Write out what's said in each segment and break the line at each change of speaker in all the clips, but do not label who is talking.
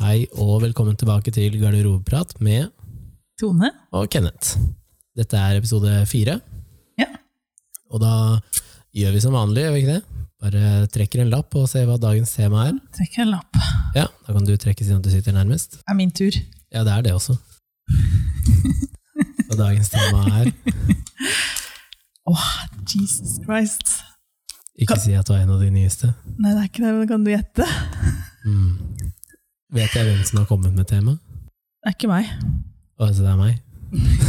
Hei og velkommen tilbake til Garderobeprat med
Tone?
og Kenneth. Dette er episode fire,
Ja.
og da gjør vi som vanlig, gjør vi ikke det? Bare trekker en lapp og ser hva dagens tema er.
Trekker en lapp.
Ja, Da kan du trekke siden at du sitter nærmest.
Det er min tur.
Ja, det er det også. Og dagens tema er
Åh, Jesus Christ.
Ikke si at du er en av de nyeste.
Nei, det er ikke det, men kan du gjette?
Mm. Vet jeg hvem som har kommet med temaet?
Det er ikke meg.
Å, altså, det er meg?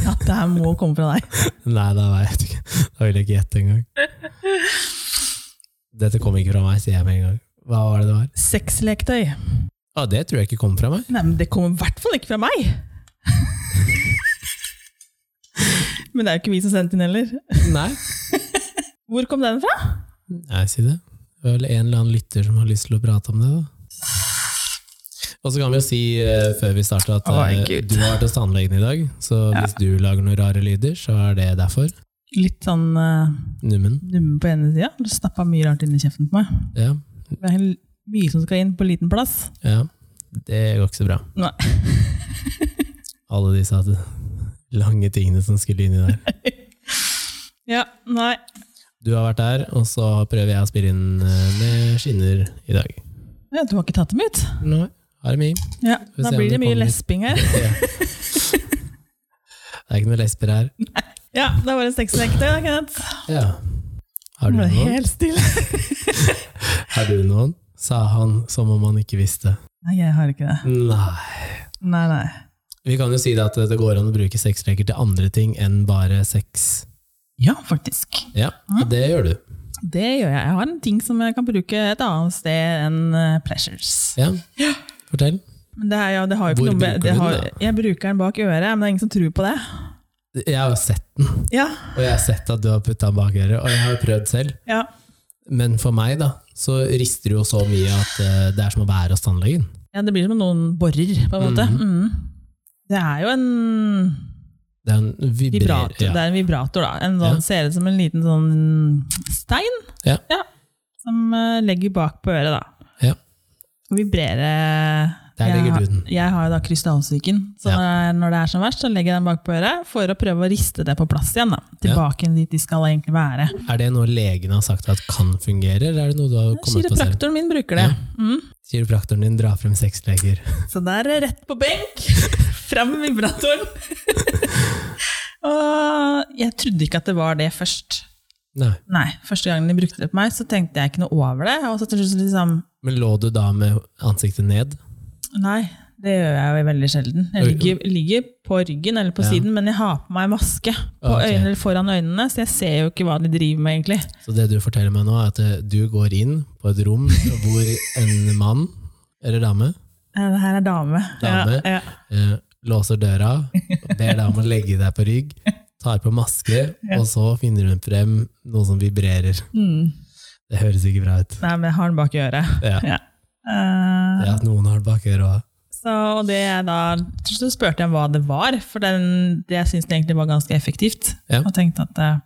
Ja, det her må komme fra deg.
Nei, da vet jeg ikke. Da vil jeg ikke gjette engang. Dette kom ikke fra meg, sier jeg med en gang. Hva var det det var?
Sexleketøy.
Ja, det tror jeg ikke kom fra meg.
Nei, men det kommer i hvert fall ikke fra meg! men det er jo ikke vi som sendte inn heller.
Nei.
Hvor kom den fra?
Nei, si det. Det er vel en eller annen lytter som har lyst til å prate om det, da. Og så kan vi jo si eh, før vi starter at
Å,
eh,
Gud.
du har vært hos tannlegen i dag, så hvis du lager noen rare lyder, så er det derfor.
Litt sånn uh,
Nummen.
numme på ene sida. Du snappa mye rart inn i kjeften på meg.
Ja,
Det er mye som skal inn på liten plass.
ja. Det går ikke så bra.
Nei.
Alle disse hadde lange tingene som skulle inn i der.
Ja, nei.
Du har vært der, og så prøver jeg å spille inn eh, med skinner i dag.
Ja, du har ikke tatt dem ut?
Nei, her er min.
Ja,
Får
Da
se om
blir
det
det mye
kommer.
lesping her.
Ja. Det er ikke noe lesber her.
Ja, det var en sexleketøy, da, Kenneth.
Ja. Har du
Nå ble det
noen?
helt stille.
Har du noen? Sa han som om han ikke visste.
Nei, jeg har ikke det.
Nei.
Nei, nei.
Vi kan jo si det at det går an å bruke sexleker til andre ting enn bare sex.
Ja, faktisk.
Ja, og det gjør du.
Det gjør jeg. Jeg har en ting som jeg kan bruke et annet sted enn eh, pleasures.
Ja. Fortell.
Men det, er, jo- det har jo ikke
Hvor
noe
bruker
med det
du den,
har,
da?
Jeg bruker den bak øret, men det er ingen som tror på det.
Jeg har jo sett den,
Ja,
og jeg har sett at du har putta den bak øret, og jeg har jo prøvd selv.
ja.
Men for meg, da, så rister det jo så mye at eh, det er som å være hos tannlegen.
ja det blir som om noen borer, på en måte.
Mhm.
Mm. Det er jo en
Det er en vibrer...
vibrator, det
Ja.
er en vibrator da. En
Ja.
sånn, Ser ut som en liten sånn stein
Ja.
som eh, legger bak på øret, da.
ja.
Skal vibrere
Der
jeg,
legger
har-
du den.
Jeg har jo da krystallsyken. Så
Ja.
når- når det er som verst, så legger jeg den bak på øret for å prøve å riste det på plass igjen. Da. Tilbake dit de skal egentlig være.
Er det noe legen har sagt at kan fungere, eller er det noe du har kommet på selv?
Kiropraktoren min bruker det. Mm.
Kiropraktoren din drar frem sexleker.
Så der er rett på benk, fram med vibratoren. Og jeg trodde ikke at det var det først.
Nei.
Nei, Første gangen de brukte det på meg, så tenkte jeg ikke noe over det. Og så til slutt liksom
Men lå du da med ansiktet ned?
Nei, det gjør jeg jo veldig sjelden. Jeg
Oi.
ligger, ligger på ryggen eller på
Ja. Ah,
siden, men jeg har på meg maske på
Ok.
øynene, eller foran øynene, så jeg ser jo ikke hva de driver med, egentlig.
Så det du forteller meg nå, er at eh, du går inn på et rom hvor en mann, eller dame,
Eh, Det her er dame.
Dame.
Ja, ja.
eh, låser døra, ber deg om å legge deg på rygg, tar på maske, og så finner hun frem noe som vibrerer.
Mm.
Det høres ikke bra ut.
Nei, men jeg har den bak i øret.
Ja,
Ja. Eh,
det at noen har det bak øret også.
Så og det jeg da Så spurte jeg hva det var, for den, det jeg syntes det egentlig var ganske effektivt.
Ja.
Og tenkte at eh,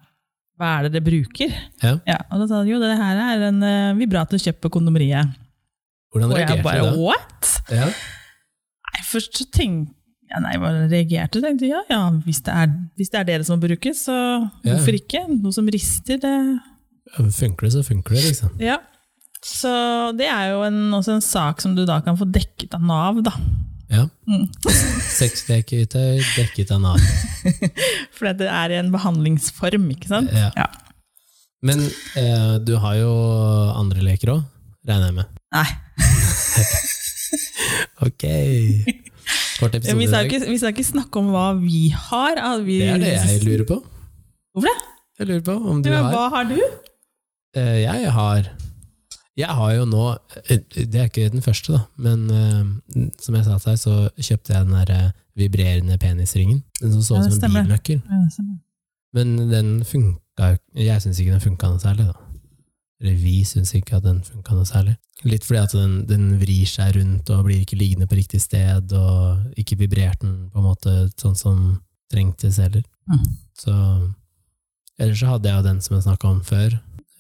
hva er det dere bruker?
Ja.
Og da sa de jo det her er en eh, vibrator kjøpt på kondomeriet.
Hvordan
Og jeg
reagerte
bare
du da?
what?
Ja.
Nei, først så tenkte ja, nei, jeg bare reagerte og tenkte ja, ja, hvis det er, hvis det er dere som må brukes, så
Ja.
hvorfor ikke? Noe som rister, det
Funker det, så funker det, liksom.
Ja. Så det er jo en, også en sak som du da kan få dekket av Nav, da.
Ja.
Mm.
Sexleketøy dekket av Nav.
For det er en behandlingsform, ikke sant?
Ja.
Ja.
Men eh, du har jo andre leker òg, regner jeg med.
Nei.
Ok. Kort episode
Vi
i
skal,
dag.
ikke, vi skal ikke snakke om hva vi har. at Vi,
Det er det jeg lurer på.
Hvorfor det?
Jeg lurer på om du
Ja,
har
Hva har du?
Eh, Jeg har Jeg har jo nå eh, Det er ikke den første, da, men eh, som jeg sa til deg, så kjøpte jeg den der eh, vibrerende penisringen. Den som så
Ja,
ut
det
som en
stemmer.
bilnøkkel. Men den funka jo Jeg syns ikke den funka noe særlig, da. Eller vi syns ikke at den funka noe særlig. Litt fordi at den, den vrir seg rundt og blir ikke liggende på riktig sted, og ikke vibrert den på en måte sånn som trengtes heller.
Mm.
Så Ellers så hadde jeg jo den som jeg snakka om før,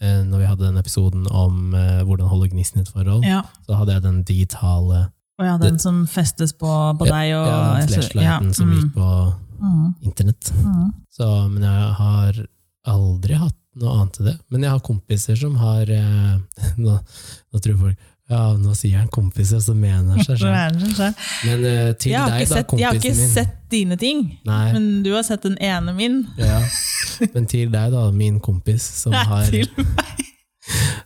eh, når vi hadde den episoden om eh, hvordan holde gnisten i et forhold.
Ja.
Så hadde jeg den digitale
Og ja, den som festes på, på deg og
ja, den flashlighten som
mm,
gikk på
mm,
internett.
mm.
Så, men jeg har aldri hatt noe annet til det. Men jeg har kompiser som har eh, nå, nå tror folk ja, nå sier han kompiser, og så mener han seg
Så
selv.
er det sånn.
Men eh, til
Jeg har
deg,
ikke,
da,
sett, jeg har
kompisen
ikke
min.
sett dine ting,
Nei.
men du har sett den ene min.
Ja. Men til deg, da, min kompis, som
Nei,
har,
til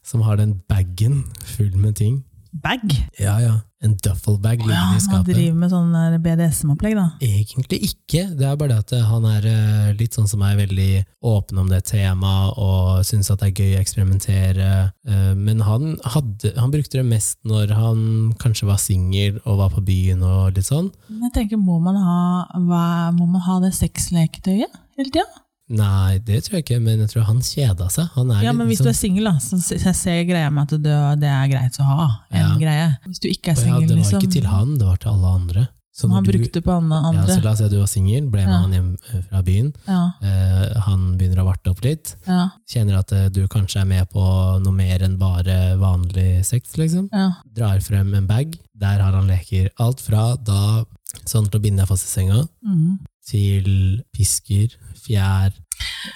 som har den bagen full med ting.
bag.
Ja, ja. En duffelbag
Ja,
liggende i
han
skapet.
driver med sånn der BDSM-opplegg, da.
Egentlig ikke. Det er bare det at han er eh, litt sånn som er veldig åpen om det temaet og syns at det er gøy å eksperimentere. Eh, Men han, hadde, han brukte det mest når han kanskje var singel og var på byen og litt sånn.
Men jeg tenker, må man ha, hva, må man ha det sexleketøyet hele tida?
Nei, det tror jeg ikke, men jeg tror han kjeda seg. Han er
Ja,
litt
men hvis du
sånn,
er singel, da, så ser jeg ser greia med at det, det er greit å ha en
Ja.
greie. Hvis du ikke er
ja,
singel,
Det var
liksom.
ikke til han, det var til alle andre. Så
som
når
han
du-
brukte på andre.
Ja, så
andre.
la oss si at du var singel, ble med
Ja.
han hjem eh, fra byen.
Ja,
Eh, han begynner å varte opp litt.
ja,
Kjenner at eh, du kanskje er med på noe mer enn bare vanlig sex, liksom.
ja.
Drar frem en bag. Der har han leker. Alt fra da sånn til å binde deg fast i senga,
Mm.
til pisker, fjær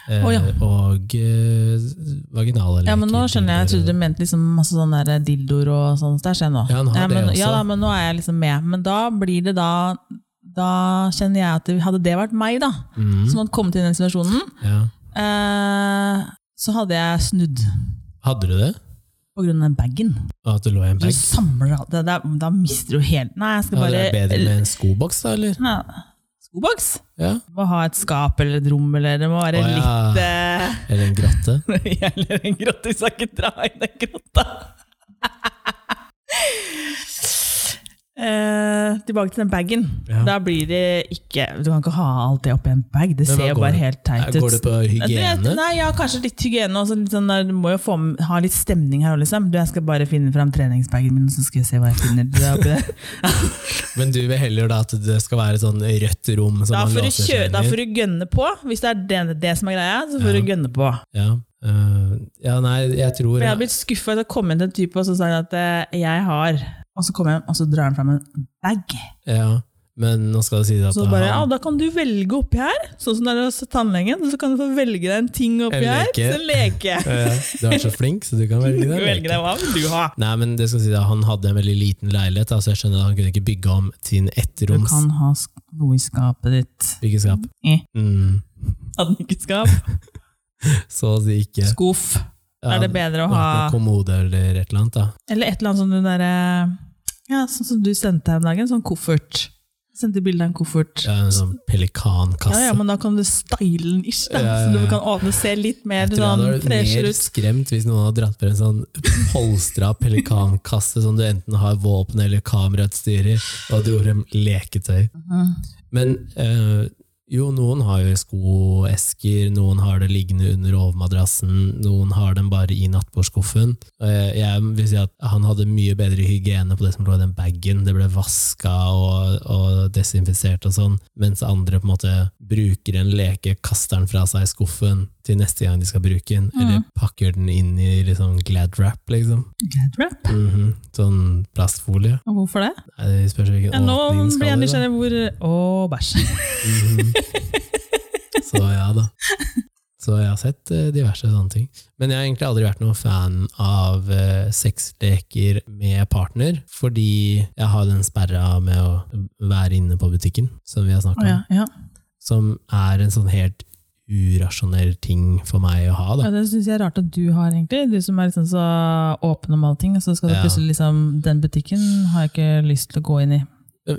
eh,
Å, ja.
og eh, vaginale leker.
Ja, men nå skjønner jeg. Jeg trodde du mente liksom masse sånne der dildoer og sånn. Det skjer nå.
eh, Ja, han har det
men,
også.
Ja, da, men nå er jeg liksom med. Men da blir det da Da kjenner jeg at det, hadde det vært meg, da,
Mm,
som hadde kommet inn i den situasjonen,
ja.
eh, så hadde jeg snudd
Hadde du det?
på grunn av den bagen.
Og at det lå i en
Du
bag?
samler alt det der, da mister du helt Nei, jeg skal
Hadde det
bare
vært bedre med en skoboks, da, eller?
Nei, Skoboks?
Ja.
Du må ha et skap eller et rom, eller det må være
Å, ja.
litt eh,
Eller en grotte?
Eller en grotte, vi skal ikke dra i den grotta. Eh, tilbake til den bagen.
Ja.
Da blir det ikke Du kan ikke ha alt det oppi en bag. Det
Men hva
ser jo
går
bare
det-
helt teit ut.
Går det på hygiene?
Det- Nei, ja, kanskje litt hygiene. Også litt sånn der, du må jo få, med- ha litt stemning her òg, liksom. Du, jeg skal bare finne fram treningsbagen min, så skal vi se hva jeg finner. der oppi der.
Men du vil heller da at det skal være et sånn rødt rom som
Da
man
får, du
låser seg
kjø,
inn
da
i?
får du gønne på. Hvis det er det, det som er greia, så får
Ja.
du gønne på.
Ja. øh, ja, nei, jeg tror
For jeg hadde blitt skuffa etter å komme inn til en type og så sa han at eh, jeg har Og så kommer jeg, og så drar han fram en bag.
ja. Men nå skal det sies at
Så bare, ja,
han,
da kan du velge oppi her, sånn som det er hos tannlegen. Så kan du få velge deg en ting oppi
En
her.
leke.
Så en leke.
Ja, Du er så flink, så du kan velge
Du
den.
velger deg hva vil du ha.
Nei, men det skal sies at Han hadde en veldig liten leilighet, da, så jeg skjønner at han kunne ikke bygge om sin
Du
ettroms
kan ha sk- noe i skapet ditt.
byggeskap.
Eh.
Mm.
Hadde den ikke skap?
Så å si ikke.
Skuff. Da er det Ah. bedre å
han- han har
ha
ikke noe Kommode eller et eller annet. da.
Eller et eller annet som du derre Ja, sånn som du sendte her om dagen. Sånn koffert. Sendte bilde av en koffert.
Ja, en sånn
Ja,
pelikankasse.
ja, men da kan du style den ish, da.
Ja, Altså. ja,
Så du
ja.
kan åpne og se litt mer
Jeg tror jeg
sånn,
hadde vært
fresher
mer
ut.
skremt hvis noen hadde dratt på en sånn polstra pelikankasse som du enten har våpen eller kamerautstyr i, og dro frem leketøy. Men eh, jo, noen har jo skoesker, noen har det liggende under overmadrassen, noen har den bare i nattbordskuffen. Og jeg- jeg vil si at han hadde mye bedre hygiene på det som lå i den bagen. Det ble vaska og, og desinfisert og sånn, mens andre på en måte bruker en leke, kaster den fra seg i skuffen til neste gang de skal bruke den,
Mhm.
eller pakker den inn i litt sånn glad wrap, liksom.
Glad-wrap?
Mhm. Sånn plastfolie.
Og hvorfor det?
Nei, det spørs hvilken
Ja, nå
åpning
blir
skal
jeg
i, da.
nysgjerrig hvor Å, bæsj.
Mhm. Så ja da. Så jeg har sett eh, diverse sånne ting. Men jeg har egentlig aldri vært noen fan av eh, sexleker med partner, fordi jeg har den sperra med å være inne på butikken, som vi har snakka
Å, ja,
om.
ja.
Som er en sånn helt urasjonell ting for meg å ha, da.
ja, Det syns jeg er rart at du har, egentlig. Du som er liksom så åpen om allting, og så skal du
Ja.
plutselig liksom Den butikken har jeg ikke lyst til å gå inn i.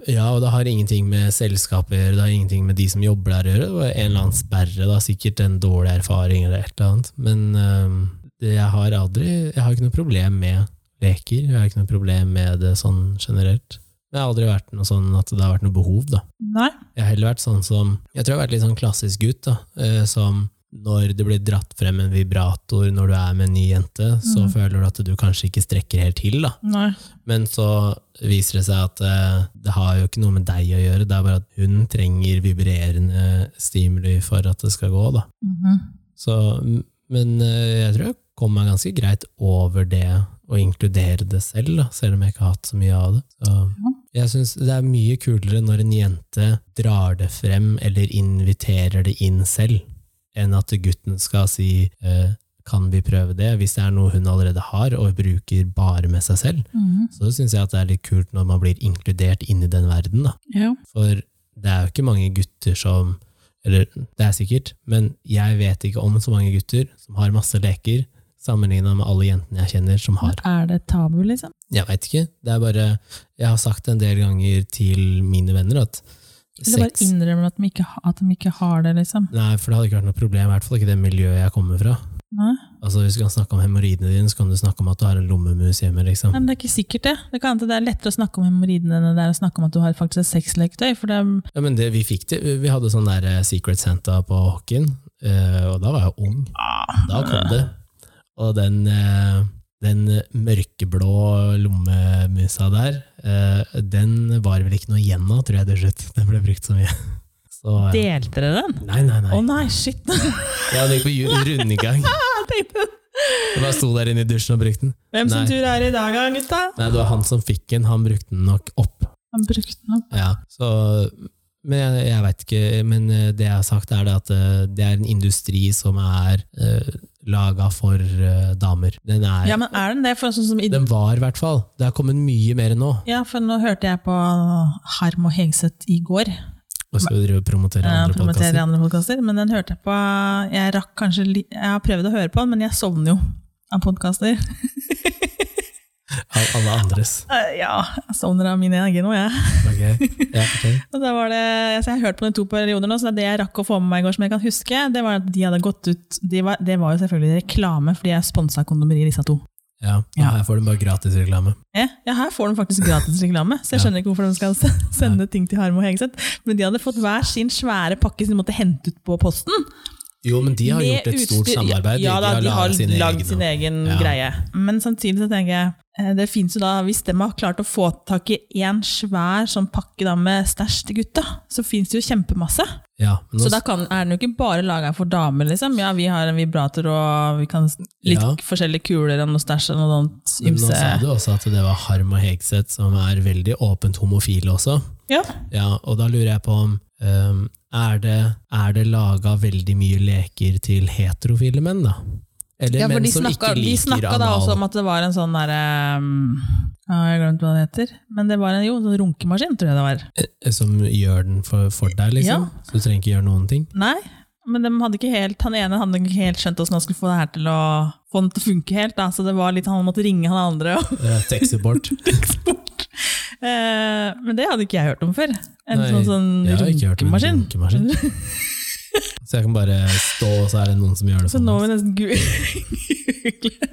Ja, og det har ingenting med selskapet å gjøre, det har ingenting med de som jobber der å gjøre. Det var en eller annen sperre, da, sikkert en dårlig erfaring eller et eller annet. Men øhm, det, jeg har aldri Jeg har ikke noe problem med leker. Jeg har ikke noe problem med det sånn generelt. Men jeg har aldri vært noe sånn at det har vært noe behov, da.
Nei.
Jeg har heller vært sånn som Jeg tror jeg har vært litt sånn klassisk gutt, da. eh, Som når det blir dratt frem en vibrator når du er med en ny jente, så føler du at du kanskje ikke strekker helt til, da.
Nei.
Men så viser det seg at eh, det har jo ikke noe med deg å gjøre, det er bare at hun trenger vibrerende stimuli for at det skal gå. Da.
Mhm.
Så, m- men eh, jeg tror jeg kom meg ganske greit over det å inkludere det selv, da, selv om jeg ikke har hatt så mye av det. Så, Jeg syns det er mye kulere når en jente drar det frem eller inviterer det inn selv, enn at gutten skal si eh, 'kan vi prøve det', hvis det er noe hun allerede har og bruker bare med seg selv.
mhm.
Så syns jeg at det er litt kult når man blir inkludert inn i den verden, da.
Ja.
For det er jo ikke mange gutter som Eller det er sikkert, men jeg vet ikke om så mange gutter som har masse leker, sammenligna med alle jentene jeg kjenner som har.
Er det tabu, liksom?
Jeg veit ikke. Det er bare Jeg har sagt en del ganger til mine venner at
Eller bare
sex
innrømmer at de ikke, ha- at de ikke har det, liksom?
Nei, for det hadde ikke vært noe problem, i hvert fall ikke det miljøet jeg kommer fra.
Nei.
Altså Hvis du kan snakke om hemoroidene dine, så kan du snakke om at du har en lommemus hjemme, liksom.
Nei, men Det er ikke sikkert, det. Det kan hende det er lettere å snakke om hemoroidene enn det er å snakke om at du har faktisk et sexleketøy. For det er
Ja, men det, vi fikk det. Vi hadde sånn der eh, Secret Santa på hockeyen, eh, og da var jeg ung. Da kom det. Og den, eh, den mørkeblå lommemusa der, eh, den var vel ikke noe igjen av, tror jeg til slutt. Den ble brukt så mye. Så, eh,
Delte dere den?
Nei, nei, nei.
Å nei, shit!
Jeg hadde ikke på ju- rundgang.
Jeg tenkte,
Jeg bare sto der inne i dusjen og brukte den. Nei.
Hvem sin tur er det i dag, da, gutta?
Nei, det var han som fikk den. Han brukte den nok opp.
Han brukte den opp.
Ja, så men jeg, jeg vet ikke, men eh, det jeg har sagt er det at eh, det er en industri som er eh, laga for eh, damer. Den er
Ja, men er den det? For sånn som i,
Den var i hvert fall. Det har kommet mye mer nå.
ja, for nå hørte jeg på Harm og Hegseth i går.
Og skal vi drive og promotere
Ja,
andre
promoterer
podkaster.
andre podkaster. Men den hørte jeg på Jeg rakk kanskje li- Jeg har prøvd å høre på den, men jeg sovner jo av podkaster.
Av alle andres.
Eh, Ja, jeg sovner av mine egne òg, jeg.
Ok, ja, fortell.
Og da var det, så jeg har hørt på den i to perioder nå, så det jeg rakk å få med meg i går som jeg kan huske, det var at de hadde gått ut de var, Det var jo selvfølgelig reklame, fordi jeg sponsa kondomerier, disse to.
Ja, og
Ja.
her får du bare gratis reklame.
Ja, ja, her får de faktisk gratis reklame, så jeg skjønner ikke hvorfor de skal se- sende ting til Harm og Hegseth. Men de hadde fått hver sin svære pakke som de måtte hente ut på posten.
Jo, men de har
Med
gjort et stort
utstyr-
samarbeid.
Ja, da, de har
laget sine
lagd
egne.
sin egen
Ja.
greie. Men samtidig så tenker jeg eh, det finnes jo da, Hvis de har klart å få tak i én svær sånn pakke da med stæsj til gutta, så fins det jo kjempemasse.
Ja, men nå,
Så da kan, er den jo ikke bare laga for damer, liksom. Ja, vi har en vibrator og vi kan s- litt
Ja.
forskjellige kuler og noe stæsj og noe sånt.
men nå
Ymse.
sa du også at det var Harm og Hegseth som er veldig åpent homofile også.
Ja.
Ja, og da lurer jeg på om ehm, er det, er det laga veldig mye leker til heterofile menn, da? Eller
Ja, for
menn
de
som
snakka,
ikke
de
liker
snakka da også
anal?
om at det var en sånn derre ja, Jeg har glemt hva det heter. Men det var en, jo, en sånn runkemaskin, tror jeg det var.
eh, Som gjør den for, for deg, liksom?
Ja.
Så du trenger ikke gjøre noen ting?
Nei, men de hadde ikke helt, han ene hadde ikke helt skjønt hvordan han skulle få det her til å få den til å funke helt. Da. Så det var litt han måtte ringe han andre. Og,
Eh, Tech support?
eh, men det hadde ikke jeg hørt om før. En
Nei,
sånn, sånn
jeg har ikke hørt om en
runkemaskin.
runkemaskin. Så jeg kan bare stå, og så er det noen som gjør det
Så
for
nå må
meg?
vi nesten gu- google.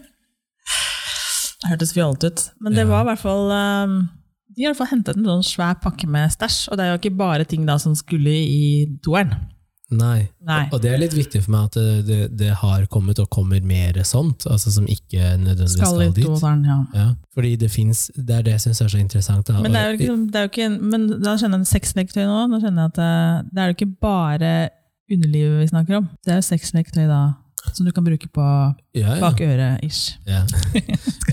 Det hørtes fjollete ut. Men det
Ja.
var i hvert fall eh, De har i hvert fall hentet en sånn svær pakke med stæsj, og det er jo ikke bare ting da som skulle i toeren.
Nei.
Nei.
Og det er litt viktig for meg at det, det, det har kommet og kommer mer sånt, altså som ikke nødvendigvis
Skal i
skal dit.
toeren, ja.
Ja, fordi det finnes, det er det jeg syns er så interessant. Da.
Men, det er
Og-
jo ikke, liksom, det er jo ikke en, men da skjønner jeg sexleketøy nå. Da skjønner jeg at eh, det, det er jo ikke bare underlivet vi snakker om. Det er jo sexleketøy da, som du kan bruke på
ja, ja.
bak øret, ish.
Ja.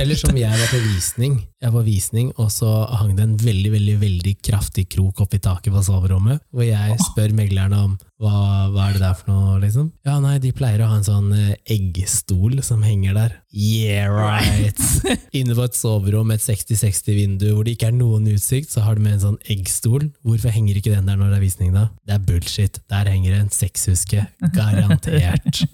Eller som jeg var på visning. Jeg var på visning, og så hang det en veldig veldig, veldig kraftig krok oppi taket på soverommet. Hvor jeg spør meglerne om hva, hva er det der for noe, liksom. Ja, nei, de pleier å ha en sånn eh, eggstol som henger der. Yeah, right! Inne på et soverom med et 60-60-vindu hvor det ikke er noen utsikt, så har du med en sånn eggstol. Hvorfor henger ikke den der når det er visning, da? Det er bullshit. Der henger det en sexhuske. Garantert.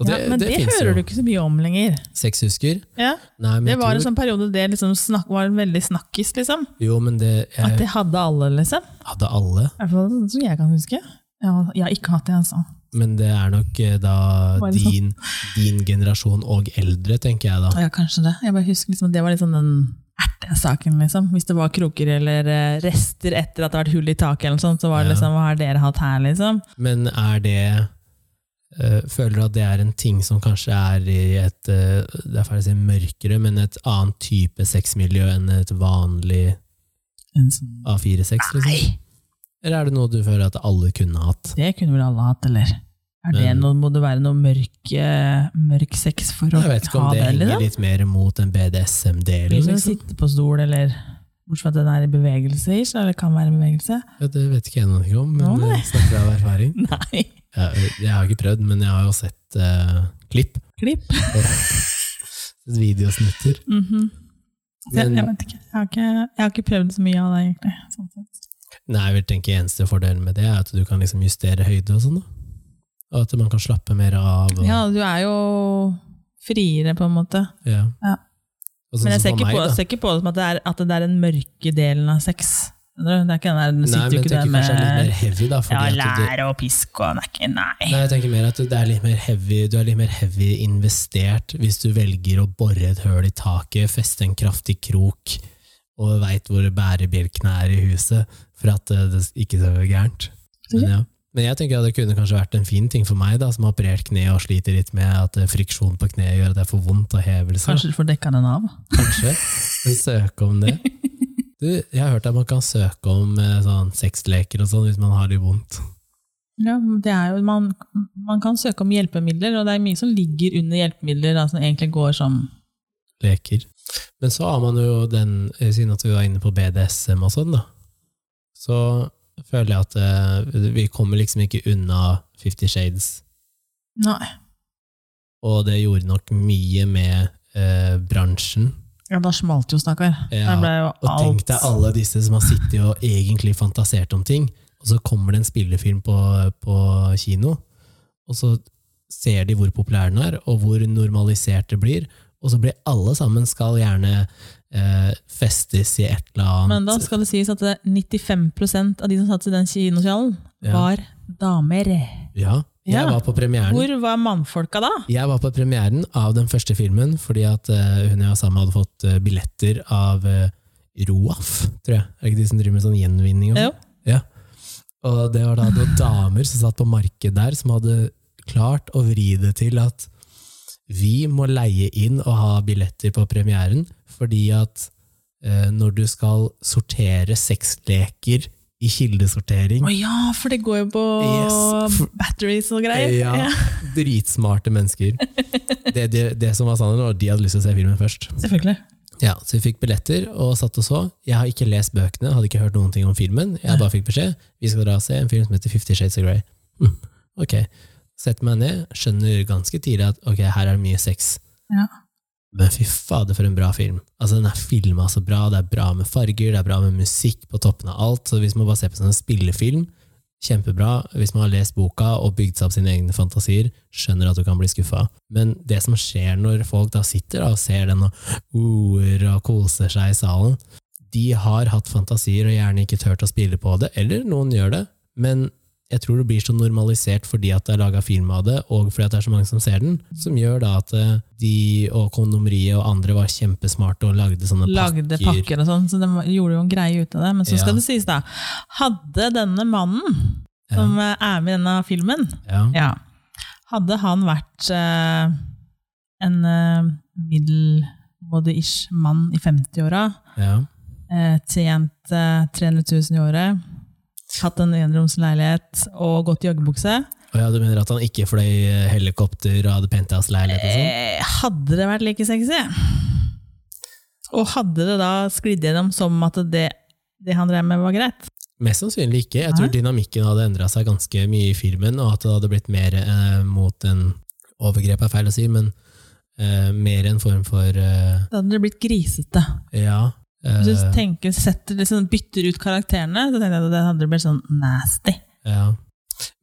Og
ja, men det,
finnes
hører
jo.
du ikke så mye om lenger.
Sexhusker?
Ja,
Nei, men
det
jeg
var
tror-
en sånn periode det liksom snak, var veldig snakkis, liksom.
Jo, men det
At
jeg
det hadde alle, liksom.
hadde alle,
I hvert fall som jeg kan huske. Ja, jeg har ikke hatt det, altså.
men det er nok eh, da
Var det sånn?
din, din generasjon og eldre, tenker jeg da.
Ja, kanskje det. Jeg bare husker liksom at det var liksom den ertesaken, liksom. Hvis det var kroker eller eh, rester etter at det har vært hull i taket, eller noe sånt, så var det
Ja.
liksom Hva har dere hatt her, liksom?
Men er det eh, Føler du at det er en ting som kanskje er i et eh, Det er ferdig å si mørkere, men et annet type sexmiljø enn et vanlig
En sånn-
A4-sex? Liksom?
Nei,
Eller er det noe du føler at alle kunne hatt?
det kunne vel alle hatt, eller? Er det
Men-
noe, må det være noe mørk, eh, mørk sex for å
Jeg vet ikke om
ha
det
det, liksom.
henger
eller?
litt mer mot en BDSM-del.
Liksom.
Liksom.
Sitte på stol, eller Bortsett fra at den er i bevegelse, ish, eller kan være i bevegelse.
Ja, det vet ikke jeg noe om, men
Å, nei.
eh, snakker av erfaring.
Nei!
Jeg, jeg har ikke prøvd, men jeg har jo sett eh, klipp.
Klipp.
Videosnutter.
Mhm. Så jeg,
Men-
jeg vet ikke. Jeg har ikke, jeg har ikke prøvd så mye av det, egentlig. Sånn sett.
Nei, jeg vil tenke eneste fordelen med det er at du kan liksom justere høyde og sånn. da. Og at man kan slappe mer av. Og,
Ja, du er jo friere, på en måte.
Ja.
Ja.
Og sånn
Men jeg
som Altså,
ser
for
ikke,
meg,
på,
da.
ser ikke på det som at det, er, at det er den mørke delen av sex. Skjønner du? Det er ikke den der, du
Nei,
sitter
men
jo
jeg
ikke der
tenker kanskje det er litt mer
med
heavy, da.
ja,
Fordi at du,
lære og pisk og nei, nei.
Nei, jeg tenker mer at det er litt mer heavy, du er litt mer heavy investert hvis du velger å bore et høl i taket, feste en kraftig krok og veit hvor bærebjelkene er i huset, for at eh, det ikke skal gå gærent. Men, ja. Men jeg tenker at det kunne kanskje vært en fin ting for meg, da, som har operert kneet og sliter litt med at eh, friksjon på kneet gjør at det er for vondt og hevelse.
Kanskje du får dekka den av?
Kanskje. Men Søke om det. Du, jeg har hørt at man kan søke om eh, sånn sexleker og sånn hvis man har litt vondt.
Ja, men det er jo, man, man kan søke om hjelpemidler, og det er mye som ligger under hjelpemidler, da, som egentlig går som
leker. Men så har man jo den, eh, siden at vi var inne på BDSM og sånn, da, så føler jeg at eh, vi kommer liksom ikke unna Fifty Shades.
Nei.
Og det gjorde nok mye med eh, bransjen.
Ja, da smalt jo, stakkar.
Ja,
Der ble jo
Og tenk deg
alt
alle disse som har sittet og egentlig fantasert om ting, og så kommer det en spillefilm på, på kino, og så ser de hvor populær den er, og hvor normalisert det blir, og så blir alle sammen skal gjerne eh, festes i et eller annet.
Men da skal det sies at det er 95 av de som satt i den kinosalen,
Ja.
var damer.
Ja, jeg
Ja.
var på premieren.
Hvor var mannfolka da?
Jeg var på premieren av den første filmen fordi at eh, hun jeg var sammen med hadde fått eh, billetter av eh, Roaf, tror jeg. Er det ikke de som driver med sånn gjenvinning? Og, sånn?
Jo.
Ja. og det var da noen damer som satt på markedet der, som hadde klart å vri det til at vi må leie inn og ha billetter på premieren, fordi at eh, når du skal sortere sexleker i kildesortering
Å ja, for det går jo på
Yes, for-
batteries og greier.
Ja, dritsmarte mennesker. Det, det, det som var sannheten, var at de hadde lyst til å se filmen først.
Selvfølgelig.
Ja, Så vi fikk billetter og satt og så. Jeg har ikke lest bøkene, hadde ikke hørt noen ting om filmen. Jeg bare fikk beskjed vi skal dra og se en film som heter Fifty Shades of Grey. Hm, Ok. Setter meg ned, skjønner ganske tidlig at ok, her er det mye sex.
Ja.
Men fy fader, for en bra film. Altså, Den er filma så bra, det er bra med farger, det er bra med musikk på toppen av alt. Så hvis man bare ser på sånn en spillefilm, kjempebra. Hvis man har lest boka og bygd seg opp sine egne fantasier, skjønner at du kan bli skuffa. Men det som skjer når folk da sitter da og ser den og oer og koser seg i salen, de har hatt fantasier og gjerne ikke tørt å spille på det, eller noen gjør det, men jeg tror det blir så normalisert fordi at det er laga film av det, og fordi at det er så mange som ser den, som gjør da at eh, de og kondomeriet og andre var kjempesmarte og lagde sånne
Lagde pakker og sånn, så de gjorde jo en greie ut av det. Men så
Ja.
skal det sies, da. Hadde denne mannen som eh, er med i denne filmen,
Ja.
ja. hadde han vært eh, en eh, middelmådig-ish mann i 50-åra,
Ja.
eh, tjent eh, 300 000 i året, hatt en enromsleilighet og gått i joggebukse
Og ja, du mener at han ikke fløy eh, helikopter og hadde penthouse-leilighet og sånn?
Eh, Hadde det vært like sexy? Og hadde det da sklidd gjennom som at det, det han drev med, var greit?
Mest sannsynlig ikke. Jeg tror
Nei.
dynamikken hadde endra seg ganske mye i filmen, og at det hadde blitt mer eh, mot en Overgrep er feil å si, men eh, mer en form for eh,
Da hadde det blitt grisete.
Ja. eh,
Hvis du tenker, setter, liksom, bytter ut karakterene, så tenkte jeg at det hadde blitt sånn nasty.
Ja.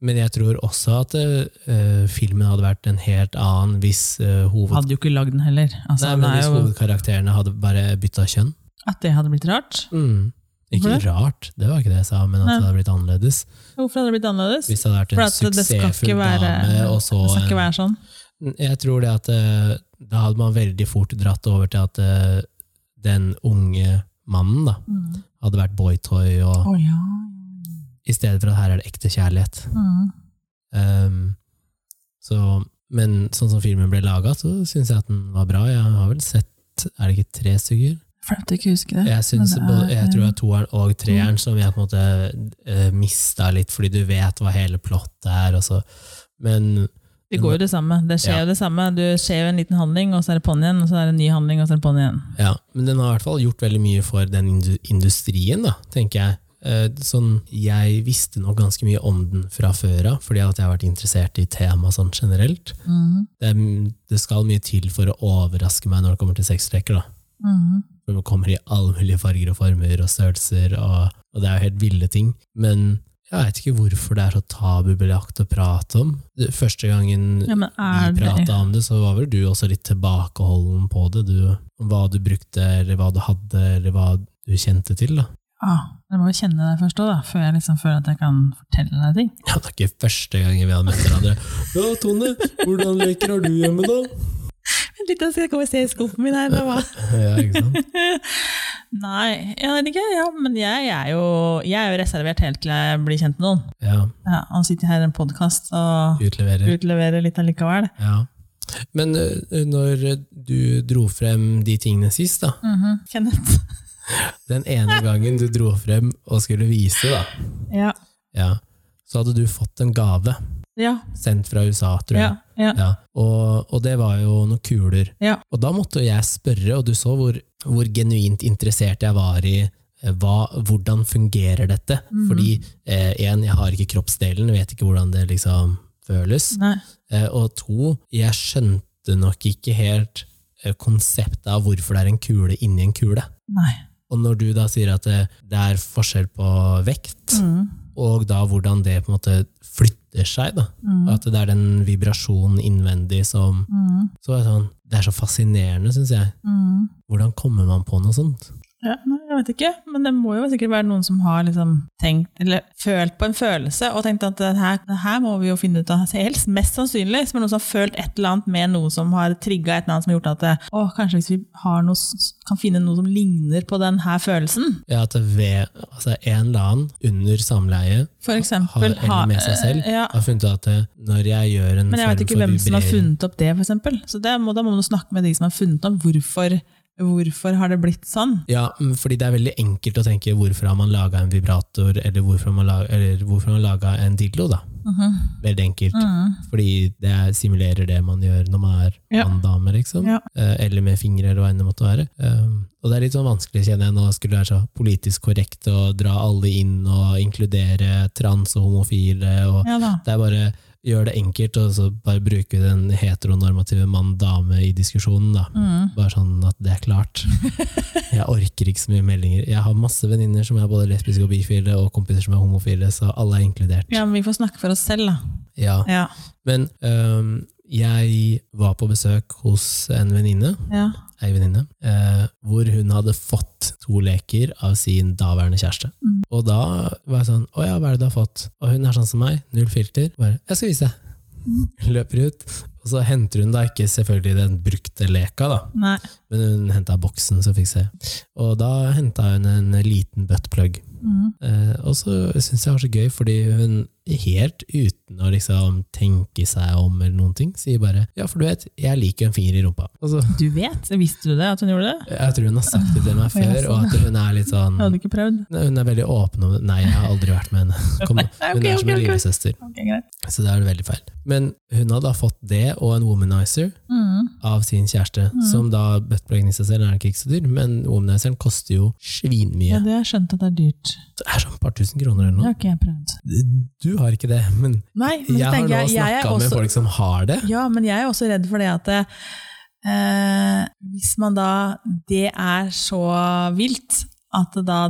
Men jeg tror også at eh, filmen hadde vært en helt annen hvis, eh, hoved...
Hadde jo ikke lagd den heller. Altså,
Nei, men
det
hvis
er jo
hovedkarakterene hadde bare bytta kjønn.
At det hadde blitt rart?
Mm. Ikke
Hvorfor det?
rart, det var ikke det jeg sa, men at
Nei.
det hadde blitt annerledes.
Hvorfor hadde det blitt annerledes?
Hvis det hadde vært
For
en
at det skal ikke
suksessfull
være,
dame, og så
det skal
en
ikke være sånn.
Jeg tror det at eh, da hadde man veldig fort dratt over til at eh, den unge mannen da,
Mm.
hadde vært boytoy, og,
ja.
i stedet for at her er det ekte kjærlighet.
Mm.
Ehm, så, men sånn som filmen ble laga, så syns jeg at den var bra. Jeg har vel sett er det ikke tre stykker?
Flaut å ikke huske det.
Jeg, synes,
Men det
både-
er-
jeg tror det er toeren og treeren som jeg på en eh, måte uh, mista litt, fordi du vet hva hele plottet er. Og så. Men
Det går jo det samme. Det skjer
Ja.
jo det samme. Du skjer jo en liten handling, og så er det på'n igjen, og så er det en ny handling, og så er det på'n igjen.
Ja, men den har i hvert fall gjort veldig mye for den indu- industrien, da, tenker jeg. Eh, Sånn, jeg visste nok ganske mye om den fra før av, fordi at jeg har vært interessert i temaet sånn generelt.
Mm.
Det, er- det skal mye til for å overraske meg når det kommer til sexleker. da.
Mhm.
For det kommer i alle mulige farger og former og størrelser, og, og det er jo helt ville ting. Men jeg veit ikke hvorfor det er så tabubelagt å prate om. Det- Første gangen
Ja, men er
vi
det
prata om det, så var vel du også litt tilbakeholden på det. Du, om hva du brukte, eller hva du hadde, eller hva du kjente til. da.
ah, Jeg må jo kjenne deg først òg, da, før jeg liksom føler at jeg kan fortelle deg ting.
Ja, det er ikke første gangen vi hadde møtt hverandre. Ja, Tone, hvordan leker har du hjemme, da?
Litt av skal komme og se i skuffen min her, eller hva?
Ja, ikke sant?
Nei, jeg vet ikke. Ja, men jeg er, jo, jeg er jo reservert helt til jeg blir kjent med noen.
Ja,
Ja, og sitter her i en podkast og
utleverer.
utleverer litt allikevel.
Ja. Men eh, når du dro frem de tingene sist, da,
Mm. Kenneth.
den ene gangen du dro frem og skulle vise, da,
Ja.
ja, så hadde du fått en gave
Ja.
sendt fra USA, tror jeg.
Ja. ja.
Ja, og, og det var jo noen kuler.
Ja.
Og da måtte jeg spørre, og du så hvor, hvor genuint interessert jeg var i eh, hva, hvordan fungerer dette? Fordi eh, en, jeg har ikke kroppsdelen, vet ikke hvordan det liksom føles.
Nei.
Eh, og to, jeg skjønte nok ikke helt eh, konseptet av hvorfor det er en kule inni en kule.
Nei.
Og når du da sier at det, det er forskjell på vekt,
Mm.
og da hvordan det på en måte flytter seg, da. At det er den vibrasjonen innvendig som så er det sånn, Det er så fascinerende, syns jeg.
Mm.
Hvordan kommer man på noe sånt?
Ja, nei, jeg vet ikke, men det må jo sikkert være noen som har liksom tenkt, eller følt på en følelse, og tenkt at det her, det her må vi jo finne ut av helst. Mest sannsynlig så er det noen som har følt et eller annet med noe som har trigget et eller annet som har gjort at det, å, kanskje hvis vi har noe, s- kan finne noe som ligner på den her følelsen.
Ja, at det ved, altså En eller annen under samleie
For
har
eksempel,
eller med seg selv
Ja,
har funnet ut at eh, når jeg gjør en
men jeg vet
form
ikke
for
hvem som har
vibrering
funnet opp det, for eksempel. Så det må, da må man snakke med de som har funnet opp hvorfor, hvorfor har det blitt sånn.
ja, mm, fordi Det er veldig enkelt å tenke hvorfor har man laga en vibrator, eller hvorfor har man laga, eller hvorfor har man laga en dildo. da.
Mhm.
Veldig enkelt. Fordi det er- simulerer det man gjør når man er
Ja.
mann-dame, liksom.
Ja.
Eh, Eller med fingre, eller hva enn det måtte være. Eh, Og det er litt sånn vanskelig, kjenner jeg, nå skulle det være så politisk korrekt å dra alle inn og inkludere trans og homofile. og
Ja da.
det er bare gjør det enkelt, og så bare bruke den heteronormative mann-dame i diskusjonen. da. Bare sånn at det er klart. Jeg orker ikke så mye meldinger. Jeg har masse venninner som er både lesbiske og bifile, og kompiser som er homofile, så alle er inkludert.
Ja, men vi får snakke for oss selv, da.
Ja.
Ja,
Men øhm, jeg var på besøk hos en venninne,
ja.
ei venninne, eh, hvor hun hadde fått to leker av sin daværende kjæreste. Og da var jeg sånn Å ja, hva er det du har fått? Og hun er sånn som meg, null filter. Bare Jeg skal vise deg. Løper ut. Og så henter hun da ikke selvfølgelig den brukte leka, da.
Nei.
Men hun henta boksen, så fikk jeg se. Og da henta hun en liten buttplug.
Mm.
Eh, og så syns jeg det var så gøy, fordi hun helt uten å liksom tenke seg om eller noen ting, sier bare 'ja, for du vet, jeg liker en finger i rumpa'. Og så,
Du vet? Visste du det, at hun gjorde det?
jeg tror hun har sagt det til meg
Å, ja,
før, og at hun er litt sånn
Jeg hadde ikke prøvd.
Hun er veldig åpen om det. Nei, jeg har aldri vært med henne. Kom, hun
ok,
er som en
ok, ok.
lillesøster. Så da er det veldig feil. Men hun hadde da fått det og en womanizer av sin kjæreste,
Mm.
som da buttpluggen i seg selv er nok ikke så dyr, men womanizeren koster jo
Ja,
svinmye.
det har jeg skjønt at det er dyrt.
Det er sånn et par tusen kroner eller
Det
noe.
har ikke jeg prøvd.
Du har ikke det, men
Nei, men
jeg
så
har
tenker
nå
jeg, jeg er
snakka med
også,
folk som har det.
ja, men jeg er også redd for det at eh, hvis man da, det er så vilt, at det da,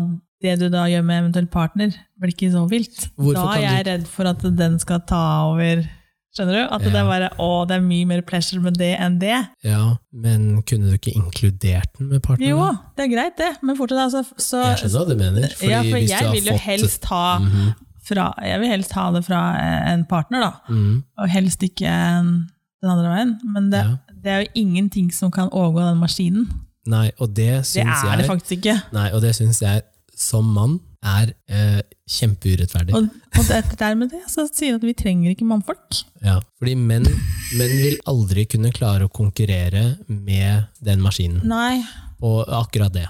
det du da gjør med eventuell partner, blir ikke så vilt.
Hvorfor
da
kan
er jeg redd for at den skal ta over, skjønner du? At det
Ja.
er bare, å, det er mye mer pleasure med det enn det.
Ja, men kunne du ikke inkludert den med partneren?
Jo,
da?
det er greit det, men fortsatt altså, så,
Mm. Jeg skjønner hva du mener. Fordi
ja, for
hvis du
jeg
har
vil jo
fått- Mhm.
helst ha fra, jeg vil helst ha det fra eh, en partner, da.
Mhm,
Og helst ikke en- den andre veien. Men det,
Ja.
det er jo ingenting som kan overgå den maskinen.
Nei, og det
Det
syns
er
jeg
det faktisk ikke.
Nei, og det syns jeg som mann er eh, kjempeurettferdig.
Og, og det, dermed det så sier jeg at vi trenger ikke mannfolk.
Ja, fordi menn, menn vil aldri kunne klare å konkurrere med den maskinen
Nei.
på akkurat det.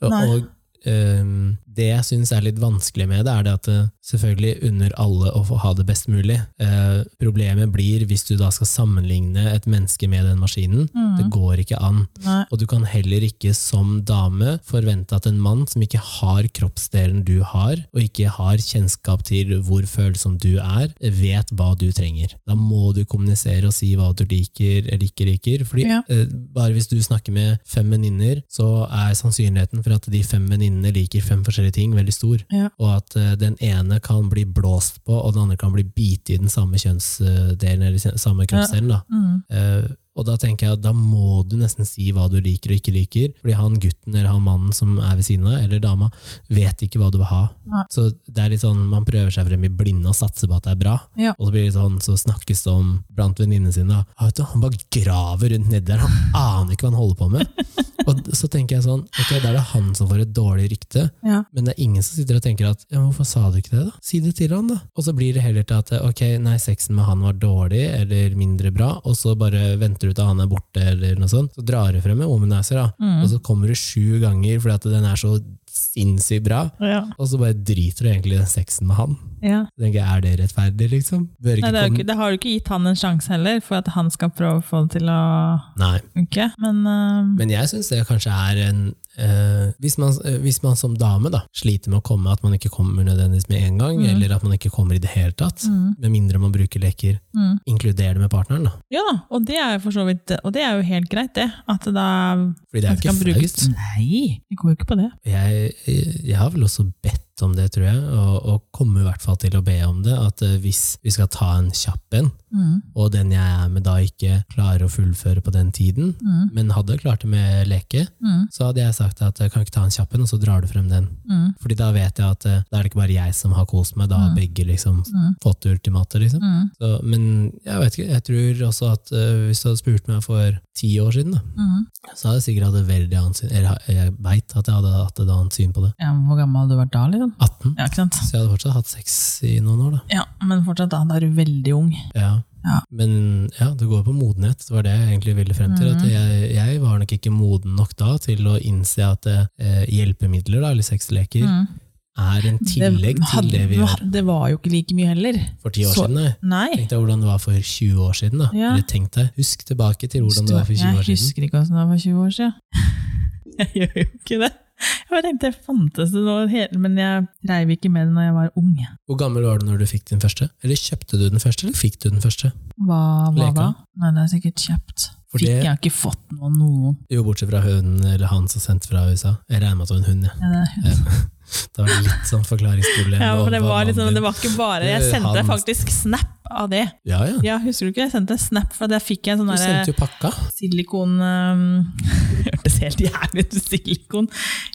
Og,
Nei.
og, ehm, Det jeg syns er litt vanskelig med det, er det at det selvfølgelig unner alle å få ha det best mulig. Eh, problemet blir hvis du da skal sammenligne et menneske med den maskinen. Det
Mm.
går ikke an.
Nei.
Og du kan heller ikke som dame forvente at en mann som ikke har kroppsdelen du har, og ikke har kjennskap til hvor følsom du er, vet hva du trenger. Da må du kommunisere og si hva du liker eller ikke liker. Fordi
Ja.
eh, bare hvis du snakker med fem venninner, så er sannsynligheten for at de fem venninnene liker fem forskjellige ting, veldig stor.
Ja.
Og at eh, den ene kan bli blåst på, og den andre kan bli bitt i den samme kjønnsdelen eller kjø- samme kroppsdelen. da.
Mm.
Eh, og da tenker jeg at da må du nesten si hva du liker og ikke liker, fordi han gutten eller han mannen som er ved siden av deg, eller dama, vet ikke hva du vil ha.
Nei.
Så det er litt sånn, man prøver seg frem i blinde og satser på at det er bra.
Ja.
Og så blir det sånn, så snakkes det om blant venninnene sine, da. «Ah, vet du, han bare graver rundt nedi der, han aner ikke hva han holder på med. og d- så tenker jeg sånn, ok, da er det han som får et dårlig rykte,
Ja.
men det er ingen som sitter og tenker at ja, men hvorfor sa du ikke det da? Si det til han da. Og så blir det heller til at ok, nei, sexen med han var dårlig eller mindre bra, og så bare venter du til han er borte eller noe sånt. Så drar du frem en womanizer da,
Mm.
og så kommer du sju ganger fordi at den er så sinnssykt bra,
Ja.
og så bare driter du egentlig i den sexen med han.
Ja.
Så Tenker, jeg, er det rettferdig liksom? Bør
Nei,
ikke
det, er jo
komme...
ikke, det har du ikke gitt han en sjanse heller, for at han skal prøve å få det til å
Nei.
funke. Men, ehm, øhm,
Men jeg syns det kanskje er en eh, hvis, man, eh, hvis man som dame da, sliter med å komme, at man ikke kommer nødvendigvis med en
Mm.
gang, eller at man ikke kommer i det hele tatt, med mindre man bruker leker,
Mm.
inkluder det med partneren. da.
ja da, og det er jo for så vidt Og det er jo helt greit, det. At det da
Fordi det er
at det
jo
kan
ikke
brukes.
flaut.
Nei, det går jo ikke på det.
Jeg, jeg har vel også bedt om det, tror jeg, og, og kommer i hvert fall til å be om det, at eh, hvis vi skal ta en kjapp en,
Mm.
og den jeg er med da ikke klarer å fullføre på den tiden,
Mm.
men hadde klart det med leke,
Mm.
så hadde jeg sagt at jeg kan ikke ta en kjapp en, og så drar du frem den.
Mm.
Fordi da vet jeg at eh, da er det ikke bare jeg som har kost meg, da har begge liksom
Mm.
fått ultimatet. Liksom.
Mm.
Så, men jeg vet ikke, jeg tror også at eh, hvis du hadde spurt meg for ti år siden, da,
Mm.
så hadde jeg sikkert hatt et veldig annet syn, eller ha- jeg veit at jeg hadde hatt et annet syn på det.
Ja, men Hvor gammel hadde du vært da, liksom?
18.
Ja, ikke sant?
Så jeg hadde fortsatt hatt sex i noen år, da.
Ja, Men fortsatt, da. Da er du veldig ung.
Ja.
Ja.
Men ja, det går på modenhet, det var det jeg egentlig ville frem til.
Mhm.
At jeg, jeg var nok ikke moden nok da til å innse at eh, hjelpemidler, da, eller sexleker,
Mm.
er en tillegg til
hadde-
det vi gjør
Det var jo ikke like mye heller.
for ti år
Så-
siden. Nei.
Nei.
Tenk deg hvordan det var for 20 år siden. da.
Ja.
Eller tenk deg, Husk tilbake til hvordan det var for 20
Jeg
år siden.
husker ikke hvordan det var for 20 år siden. Jeg gjør jo ikke det. Jeg bare tenkte det fantes det noe hele, men jeg dreiv ikke med det når jeg var ung.
Hvor gammel var du når du fikk din første? Eller kjøpte du den første, eller fikk du den første?
Hva, hva
Leka?
da? Nei, det er sikkert kjapt.
For
Fikk
det-
jeg har ikke fått noe av noen.
Jo, bortsett fra hønen eller han som sendte fra USA. Jeg regner med at det var en hund, jeg.
Ja, det,
Det var litt sånn forklaringsproblem.
ja, for det
hva
var
mannen
liksom,
din-
det var ikke bare Jeg
Eh,
sendte
han-
deg faktisk snap av det.
Ja, ja.
Ja, husker du ikke? Jeg sendte deg snap, for der fikk jeg en sånn
Du
derre
sendte jo pakka.
silikon um, Hørtes helt jævlig ut, silikon.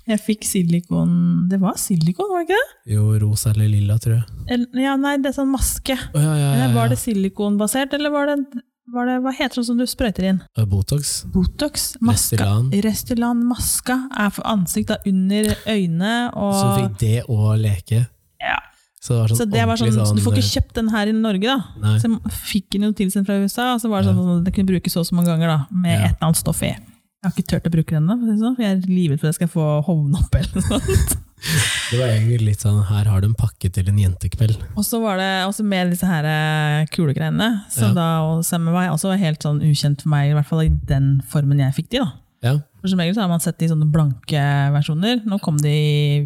Jeg fikk silikon Det var silikon, var det ikke det?
Jo, rosa eller lilla, tror jeg.
Eller- Ja, nei, det er sånn maske.
Å, ja, ja, ja,
Eller var
ja.
det silikonbasert, eller var det, var det Hva heter det som du sprøyter inn?
Og Botox.
Botox? Maska.
Restylane.
Restylane maska er for ansikt da, under øynene
Så du
og
fikk det og leke.
ja.
Så det var sånn
Så det var sånn,
ordentlig sånn eh,
Du får ikke kjøpt den her i Norge, da.
Nei.
Så jeg fikk den jo tilsendt fra USA, og så var det sånn at det kunne brukes så og så mange ganger da, med
Ja.
et eller annet stoff i. Jeg har ikke turt å bruke den, da, for å si det sånn, for jeg er livredd for at jeg skal få hovne opp. eller noe sånt.
Det var egentlig litt sånn her har du en pakke til en jentekveld.
Og så var det også med disse her eh, kulegreiene, så
Ja.
da og Summer var også helt sånn ukjent for meg, i hvert fall i den formen jeg fikk de. da.
Ja.
For som regel så har man sett de sånne blanke versjoner. Nå kom de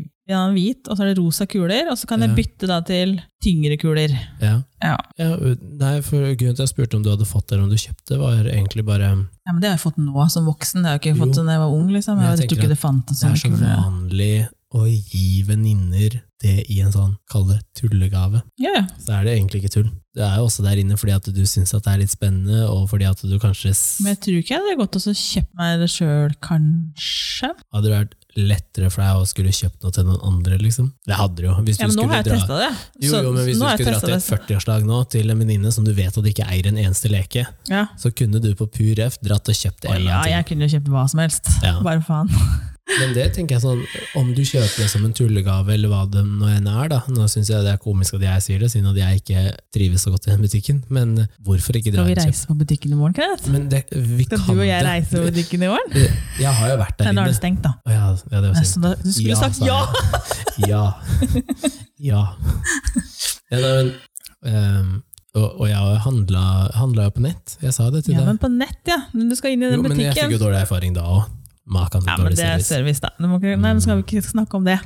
i ja, hvit, og så er det rosa kuler, og så kan
Ja.
jeg bytte da til tyngre kuler.
ja.
Ja.
Ja, u- nei, for Grunnen til at jeg spurte om du hadde fått det eller om du kjøpte, var egentlig bare
ja, men det har jeg fått nå som voksen, det har jeg ikke
Jo.
fått da jeg var ung, liksom.
Men jeg
Jeg, tror
tenker at
ikke det fantes
Det er så
sånne kuler.
vanlig å gi venninner det i en sånn, kall det, tullegave.
Ja, ja.
Så er det egentlig ikke tull. Det er jo også der inne fordi at du syns at det er litt spennende, og fordi at du kanskje s-
Men jeg tror ikke jeg hadde gått og så kjøpt meg det sjøl, kanskje.
hadde det vært lettere for deg å skulle kjøpt noe til noen andre, liksom. Det hadde det jo. Hvis du
Ja, men nå
skulle
har jeg
dra
testa det.
jo, jo, men hvis du
nå har jeg
skulle dra
testet
til et 40-årslag nå, til en venninne som du vet at ikke eier en eneste leke,
det. Ja.
så kunne du på pur F dratt og kjøpt en
Å,
eller
ja,
annen ting.
jeg kunne jo kjøpt hva som helst.
Ja.
Bare faen.
Men det tenker jeg sånn, om du kjøper det som en tullegave, eller hva det nå enn er, da. Nå syns jeg det er komisk at jeg sier det, siden at jeg ikke trives så godt i den butikken. Men hvorfor ikke dra
Skal vi
og kjøpe?
reise på butikken i morgen, Kenneth?
Men det, vi
Skal
kan
du og jeg
det.
reise på butikken i morgen?
Eh, Jeg har jo vært der
Nei, da er det
inne.
stengt, da.
Å ja, ja, det var
Så
synd.
da, du skulle sagt
sa
ja!
jeg. Ja. ja. ja nei, men, ehm, og, og jeg har handla, handla jo på nett. Jeg sa det til
Ja,
deg.
men på nett, ja. Men du skal inn i den
jo, men jeg fikk jo
butikken.
dårlig erfaring da òg. Makan til
Ja, men
dårlig
det er
service.
service, da. Du må ikke, nei, nå skal vi ikke snakke om det.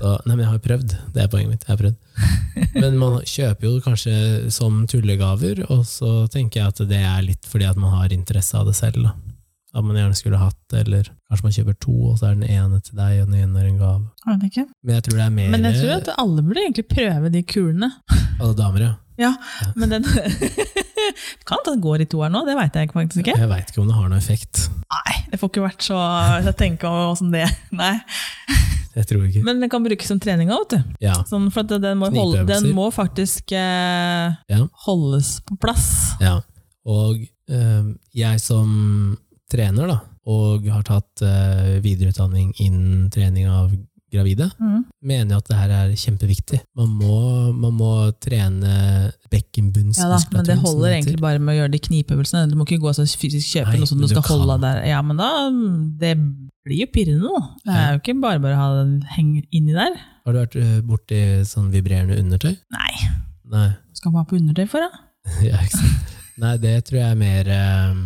Så, nei, men jeg har prøvd. Det er poenget mitt. Jeg har prøvd. Men man kjøper jo kanskje som tullegaver, og så tenker jeg at det er litt fordi at man har interesse av det selv. Da. At man gjerne skulle hatt, eller kanskje man kjøper to, og så er den ene til deg, og den ene er en gave.
Aner ikke.
Men jeg tror det er mer
Men jeg tror at
Eh.
alle burde egentlig prøve de kulene.
alle damer, ja.
Ja, men den Kan at den går i toeren nå, det veit jeg faktisk ikke.
Jeg veit ikke om det har noen effekt.
Nei, det får ikke vært så Jeg tenker også om det. Nei.
Jeg tror ikke.
Men den kan brukes som trening òg, vet du.
Ja.
Sånn for at den må, holde,
Knipeøvelser.
den må faktisk eh,
Ja.
holdes på plass.
ja. Og øhm, jeg som trener, da, og har tatt øh, videreutdanning innen trening av gravide,
Mm.
mener jo at det her er kjempeviktig. Man må, man må trene
Ja da,
bekkenbunnsmuskulaturen.
men det
som
holder
heter.
egentlig bare med å gjøre de knipeøvelsene. Du må ikke gå og så fysisk kjøpe
Nei,
noe som du
men du
skal holde
kan.
av der. Ja, men da Det blir jo pirrende, da. Det er jo ikke bare bare å ha den heng inni der.
Har du vært øh, borti sånn vibrerende undertøy?
Nei,
Nei.
skal man ha på undertøy for, da?
Ja, ikke sant? Nei, det tror jeg er mer øhm,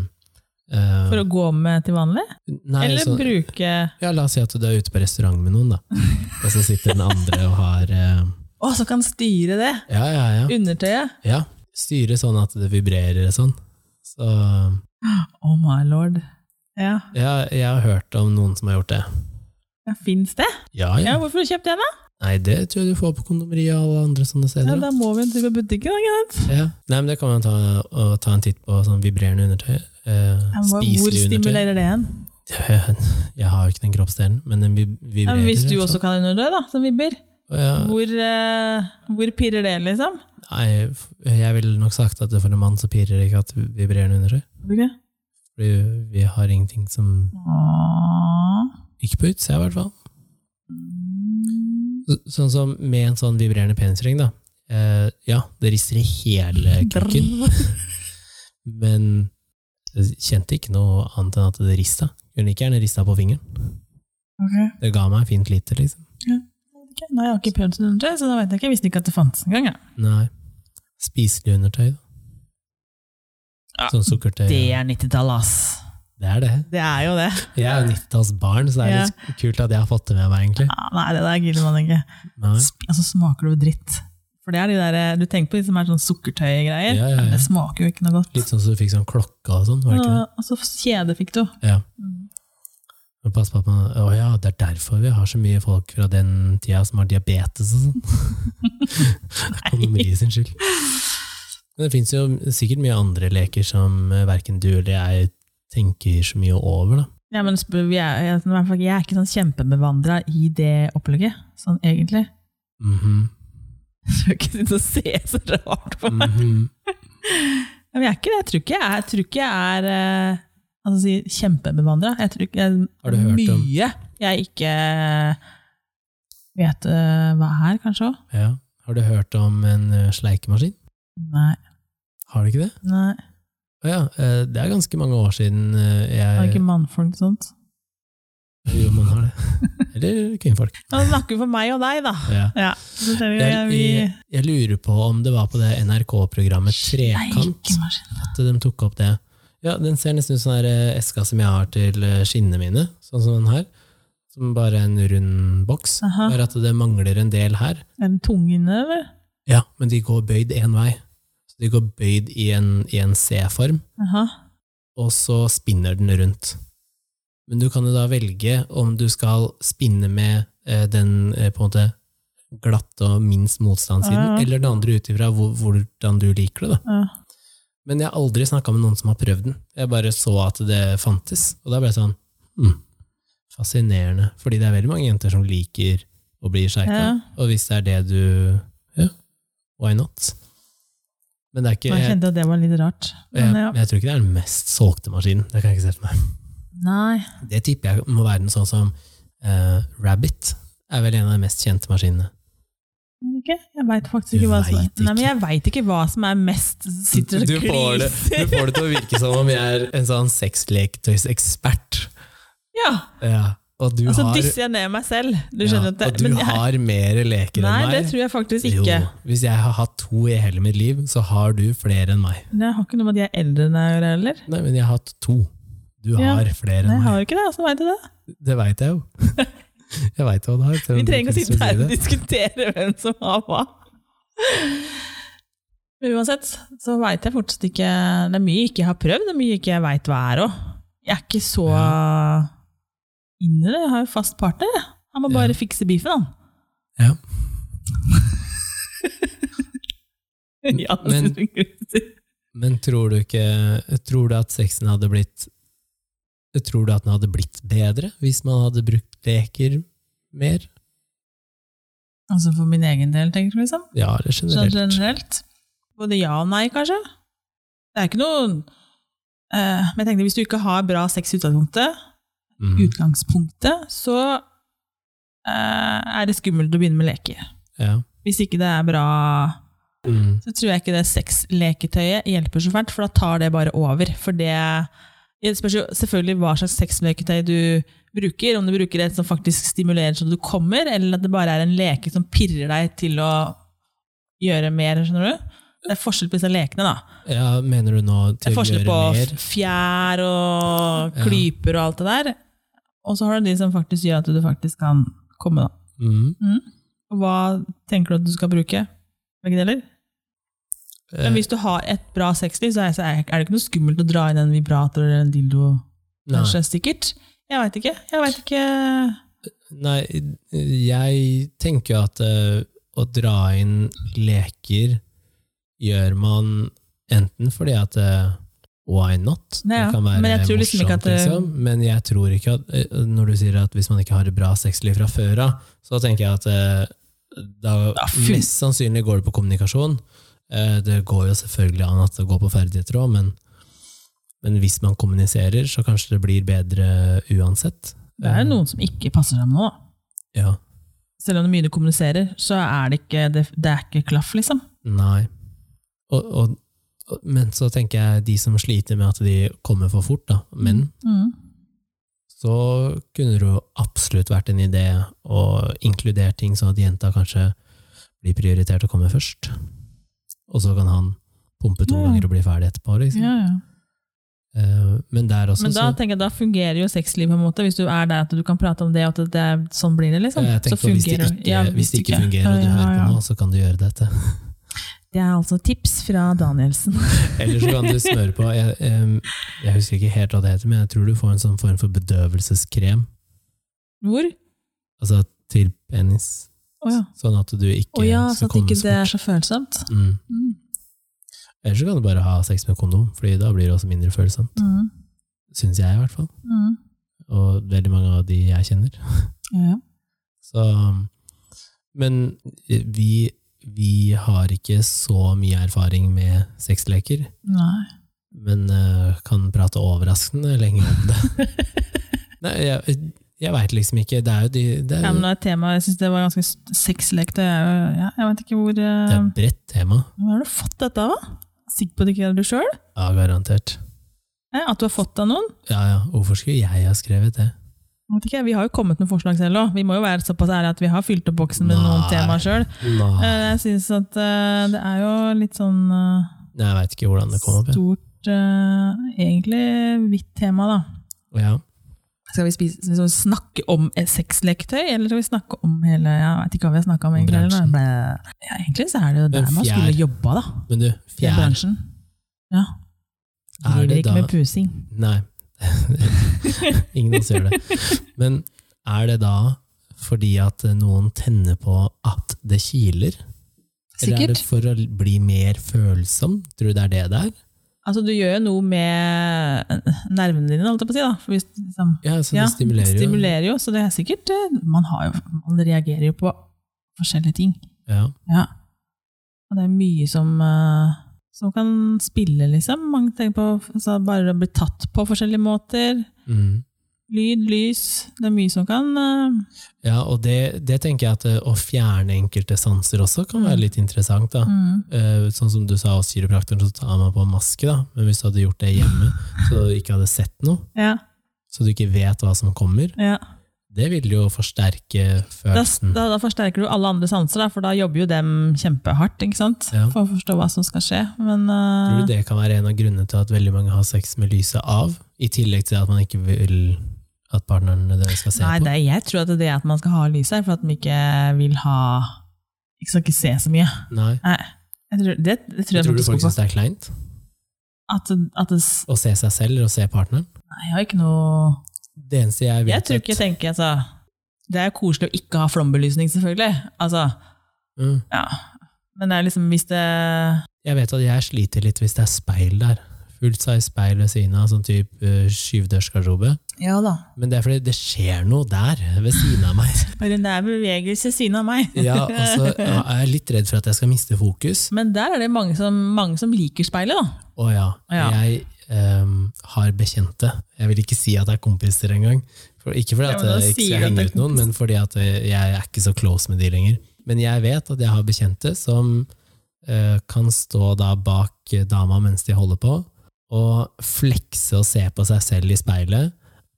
øhm,
For å gå med til vanlig?
nei,
Eller
sånn-
bruke
Ja, la oss si at du er ute på restaurant med noen, da. Og så sitter den andre og har eh,
Å, så kan styre det!
Ja, ja, ja.
Undertøyet!
ja. Styre sånn at det vibrerer og sånn. Så
Oh my lord. Ja,
ja, jeg har hørt om noen som har gjort det.
ja Fins det?
Ja,
Ja,
ja.
Hvorfor har du kjøpt det, da?
Nei, det tror jeg du får på kondomeriet og alle andre sånne
Ja,
steder. Da.
da må vi en tur på butikken. da, ikke sant?
Ja. Nei, men det kan man ta, og ta en titt på sånn vibrerende undertøy. Eh,
Ja, hvor- Hvor
spiselig undertøy.
stimulerer det en?
Jeg har jo ikke den kroppsdelen, men den vib-
Ja,
vibrerer.
men hvis du
liksom.
også kan ha undertøy, da, som vibber,
ja,
hvor, eh, hvor pirrer det, liksom?
Nei, jeg ville nok sagt at for en mann så pirrer det ikke at vibrerende undertøy.
Okay.
Fordi vi har ingenting som Ikke på utsida, i hvert fall. Så, sånn som med en sånn vibrerende penisring, da. Eh, ja, det rister i hele kukken, men jeg kjente ikke noe annet enn at det rista. Kunne like gjerne rista på fingeren.
Okay.
Det ga meg fint lite, liksom.
Ok, Nei, jeg har ikke prøvd sånn undertøy, så da vet jeg ikke. Jeg visste ikke at det fantes engang. jeg.
Nei. Spiselig undertøy, da.
Ja,
Sånn sukkertøy.
Det er 90-tallet, ass.
Det er det.
Det er jo det.
Jeg er jo 90-tallsbarn, så det er litt kult at jeg har fått det med meg, egentlig.
Ja, nei, det der gidder man ikke.
Nei.
Sp- Altså, smaker det jo dritt. For det er de der, eh, Du tenker på de som er sånn sukkertøygreier.
Ja, ja, ja.
Det smaker jo ikke noe godt.
Litt sånn som du fikk sånn klokke og sånn, var det ikke det?
Og så kjede fikk du.
Ja. Men pass på at man Å ja, det er derfor vi har så mye folk fra den tida som har diabetes og sånn. Det er Kondomeriet sin skyld. Men det fins jo sikkert mye andre leker som eh, verken du eller jeg tenker så mye over, da.
Ja, men sp- vi er, jeg, i hvert fall, jeg er ikke sånn kjempebevandra i det opplegget, sånn egentlig.
Mhm,
Så ikke sitte og se så rart på meg.
mhm.
Ja, Men jeg er ikke det. Jeg tror ikke jeg er, jeg tror ikke jeg er eh, altså, si, kjempebevandra. Jeg tror ikke jeg,
Har du hørt om-
mye jeg ikke eh, vet eh, hva er, kanskje òg.
Ja. Har du hørt om en eh, sleikemaskin?
Nei.
Har du ikke det?
nei.
Å ja, eh, det er ganske mange år siden eh,
Har
jeg
ikke mannfolk sånt?
Jo, man har det. Eller kvinnfolk.
Nå snakker vi for meg og deg, da.
Ja.
Ja, så ser vi,
Jeg,
vi
jeg, jeg lurer på om det var på det NRK-programmet Trekant.
Leikemaskin.
at de tok opp det. Ja, den ser nesten ut som den der, eh, eska som jeg har til eh, skinnene mine, sånn som den her. Som bare er en rund boks.
Aha.
Bare at det mangler en del her.
Er den tung inne, eller?
Ja, men de går bøyd én vei. Så de går bøyd i en, i en C-form,
Aha.
og så spinner den rundt. Men du kan jo da velge om du skal spinne med eh, den eh, på en måte glatte og minst motstandssiden,
Ja, ja.
eller det andre ut ifra hvor, hvordan du liker det. da.
Ja.
Men jeg har aldri snakka med noen som har prøvd den. Jeg bare så at det fantes, og da ble jeg sånn hm, Fascinerende. Fordi det er veldig mange jenter som liker å bli sjeika.
Ja.
Og hvis det er det du Ja, why not? Men det er ikke
Jeg
jeg,
kjente at det var litt rart.
jeg,
Men, ja.
Eh, jeg tror ikke det er den mest solgte maskinen. Det kan jeg ikke se for meg.
Nei.
Det tipper jeg må være den sånn som eh, Rabbit er vel en av de mest kjente maskinene.
Men Ikke? Jeg veit faktisk
Du
ikke hva som er
vet ikke.
Nei, men jeg vet ikke hva som er mest sitter og
du
gliser.
får det til å virke som om jeg er en sånn sexleketøysekspert.
Ja,
Ja. Og du
Altså
har,
dysser jeg ned meg selv. Du
ja,
skjønner at det,
og du
men jeg-
har mer leker
Nei,
enn meg.
det tror jeg faktisk ikke.
Jo, hvis jeg har hatt to i hele mitt liv, så har du flere enn meg.
Det har ikke noe med at jeg er eldre enn deg å gjøre heller.
Nei, men jeg har hatt to. Du
Ja.
har flere
Nei,
enn
jeg har
meg.
jo ikke det. Altså, vet du det?
Det veit jeg jo. Jeg veit hva du har. selv om
Vi
du
trenger
ikke
ikke å
skulle si
sitte her og
det.
diskutere hvem som har hva. Men uansett, så veit jeg fortsatt ikke Det er mye jeg ikke har prøvd, og mye jeg ikke veit hva er òg. Jeg er ikke så inn i det. Jeg har jo fast partner. jeg. Han må
Ja.
bare fikse beefen,
Ja.
han. ja, det
Men-
synes jeg er greit.
Men tror du ikke Tror du at sexen hadde blitt Tror du at den hadde blitt bedre hvis man hadde brukt leker mer?
altså for min egen del, tenker du liksom?
Ja, eller
Sånn
generelt?
generelt? Både ja og nei, kanskje? Det er ikke noe eh, Men jeg tenkte, hvis du ikke har bra sex i utgangspunktet,
Mm,
utgangspunktet så eh, er det skummelt å begynne med leker.
ja.
Hvis ikke det er bra,
Mm,
så tror jeg ikke det sexleketøyet hjelper så fælt, for da tar det bare over. For det det spørs jo selvfølgelig hva slags sexleketøy du bruker, om du bruker et som faktisk stimulerer sånn at du kommer, eller at det bare er en leke som pirrer deg til å gjøre mer, skjønner du? Det er forskjell på disse lekene, da.
ja, mener du nå
Det
til
er
å
forskjell
gjøre
på
mer?
f- fjær og
Ja.
klyper og alt det der. Og så har du de som faktisk gjør at du faktisk kan komme, da.
Mm,
Hva tenker du at du skal bruke? Begge deler?
eh,
Men hvis du har et bra sexliv, så er så er er det ikke noe skummelt å dra inn en vibrator eller en dildo.
Eh, nei.
Kanskje, sikkert. Jeg veit ikke. Jeg vet ikke.
Nei, jeg tenker jo at eh, å dra inn leker gjør man enten fordi at eh, why not?
Nei, ja.
Det kan være
Men jeg tror liksom
morsomt,
ikke at det-
liksom. Men jeg tror ikke at eh, Når du sier at hvis man ikke har et bra sexliv fra før av, så tenker jeg at eh, da
Ja, fy-
mest sannsynlig går det på kommunikasjon. Eh, Det går jo selvfølgelig an at det går på ferdigheter òg, men, men hvis man kommuniserer, så kanskje det blir bedre uansett.
Det er jo noen som ikke passer seg med noe. da.
Ja.
Selv om det er mye du kommuniserer, så er det ikke, det, det er ikke klaff, liksom.
Nei. Og, og, og, men så tenker jeg de som sliter med at de kommer for fort, da, menn,
Mm.
så kunne det jo absolutt vært en idé å inkludere ting sånn at jenta kanskje blir prioritert og kommer først. Og så kan han pumpe to
Ja.
ganger og bli ferdig etterpå, liksom.
Ja, ja.
Eh, men der også,
Men da
så
tenker jeg, da fungerer jo sexlivet på en måte, hvis du er der at du kan prate om det, og at det er, sånn blir det, liksom.
jeg
Så
tenker på hvis det
fungerer
ikke,
ja,
hvis det ikke fungerer, og du
Ja, ja,
hører
ja.
på nå, så kan du gjøre dette.
Det er altså tips fra Danielsen.
Eller så kan du smøre på jeg, em, jeg husker ikke helt hva det heter, men jeg tror du får en sånn form for bedøvelseskrem.
Hvor?
Altså til penis.
Å ja.
Sånn at du ikke
Å ja, så
skal
at
komme
ikke
så
det er
fort.
så følsomt.
Mm.
Mm.
Ellers så kan du bare ha sex med kondom, Fordi da blir det også mindre følsomt.
Mm.
Syns jeg, i hvert fall.
Mm.
Og veldig mange av de jeg kjenner.
Ja.
Så, men vi, vi har ikke så mye erfaring med sexleker,
Nei.
men eh, kan prate overraskende lenge om det. Nei, jeg, jeg veit liksom ikke. Det er jo de Det er,
Ja,
jo-
men det er et tema, jeg synes det var ganske s- sexlekt. og Jeg, er jo- ja, jeg vet ikke hvor eh,
det er et bredt tema.
Hvor har du fått dette av? da? Sikker på at det ikke er du sjøl?
Ja, garantert.
At du har fått det av noen?
Ja, ja. Hvorfor skulle jeg ha skrevet det?
Jeg Vet ikke, vi har jo kommet med forslag selv òg. Vi må jo være såpass ærlige at vi har fylt opp boksen med noen
Nei.
temaer sjøl.
Nei,
Jeg synes at eh, det er jo litt sånn eh,
jeg veit ikke hvordan det kom opp. jeg.
stort eh, Egentlig hvitt tema, da.
Ja.
Skal vi, spise, skal vi sånn snakke om et sexleketøy, eller skal vi snakke om hele Jeg vet ikke hva vi har snakka om, egentlig. eller
Bransjen.
hva det ble. Ja, egentlig så er det jo der man
fjær.
skulle jobba, da.
Men du,
I
fjær
bransjen. Ja.
er
Driver
det
ikke
da
med pusing.
Nei. Ingen av oss gjør det. Men er det da fordi at noen tenner på at det kiler? Eller er det
Sikkert.
for å bli mer følsom? Tror du det er det det er?
Altså, du gjør jo noe med nervene dine, holdt jeg på å si. da. For hvis, liksom,
Ja, så det
ja,
stimulerer jo.
stimulerer jo. Så det er sikkert eh, Man, har jo, man reagerer jo på forskjellige ting.
Ja.
Ja. Og det er mye som, eh, som kan spille, liksom. Man tenker på altså, bare å bli tatt på forskjellige måter.
Mm.
Lyd, lys. Det er mye som kan eh,
ja, og det, det tenker jeg at eh, å fjerne enkelte sanser også kan være litt interessant. da.
mm,
Eh, Sånn som du sa hos kiropraktoren, så tar man på maske, da. Men hvis du hadde gjort det hjemme, så du ikke hadde sett noe,
Ja.
så du ikke vet hva som kommer,
ja.
Det vil jo forsterke
Da,
følelsen.
da, da forsterker du alle andre sanser, da, for da jobber jo dem kjempehardt ikke sant?
Ja.
for å forstå hva som skal skje. Men
Tror
eh,
du det kan være en av grunnene til at veldig mange har sex med lyset av, i tillegg til at man ikke vil at partneren nødvendigvis skal se
nei,
på?
det, jeg tror at det er at man skal ha lyset her, for at man ikke vil ha Ikke skal ikke se så mye.
Nei.
Nei. Jeg tror, det, det tror jeg
Tror du
faktisk
folk
på.
syns det er kleint
At, at det, s-
å se seg selv eller å se partneren?
nei, jeg har ikke noe
Det eneste jeg
Jeg
vet
tror ikke jeg tenker altså, Det er koselig å ikke ha flombelysning, selvfølgelig. Altså,
mm,
ja. Men det er liksom hvis det
Jeg vet at jeg sliter litt hvis det er speil der. Fullt size speil ved siden av, sånn type uh, skyvedørsgarderobe.
Ja da.
Men det er fordi det skjer noe der, ved siden av meg.
Bare det er bevegelse ved siden av meg.
Ja, og så ja, er jeg litt redd for at jeg skal miste fokus.
Men der er det mange som, mange som liker speilet, da.
Å ja.
Ja.
Jeg ehm, har bekjente. Jeg vil ikke si at det er kompiser engang. For, ikke fordi
Ja,
at
men da
jeg ikke
sier
skal
du at
henge
det er
ut noen, men fordi at jeg er ikke så close med de lenger. Men jeg vet at jeg har bekjente som eh, kan stå da bak dama mens de holder på, og flekse og se på seg selv i speilet,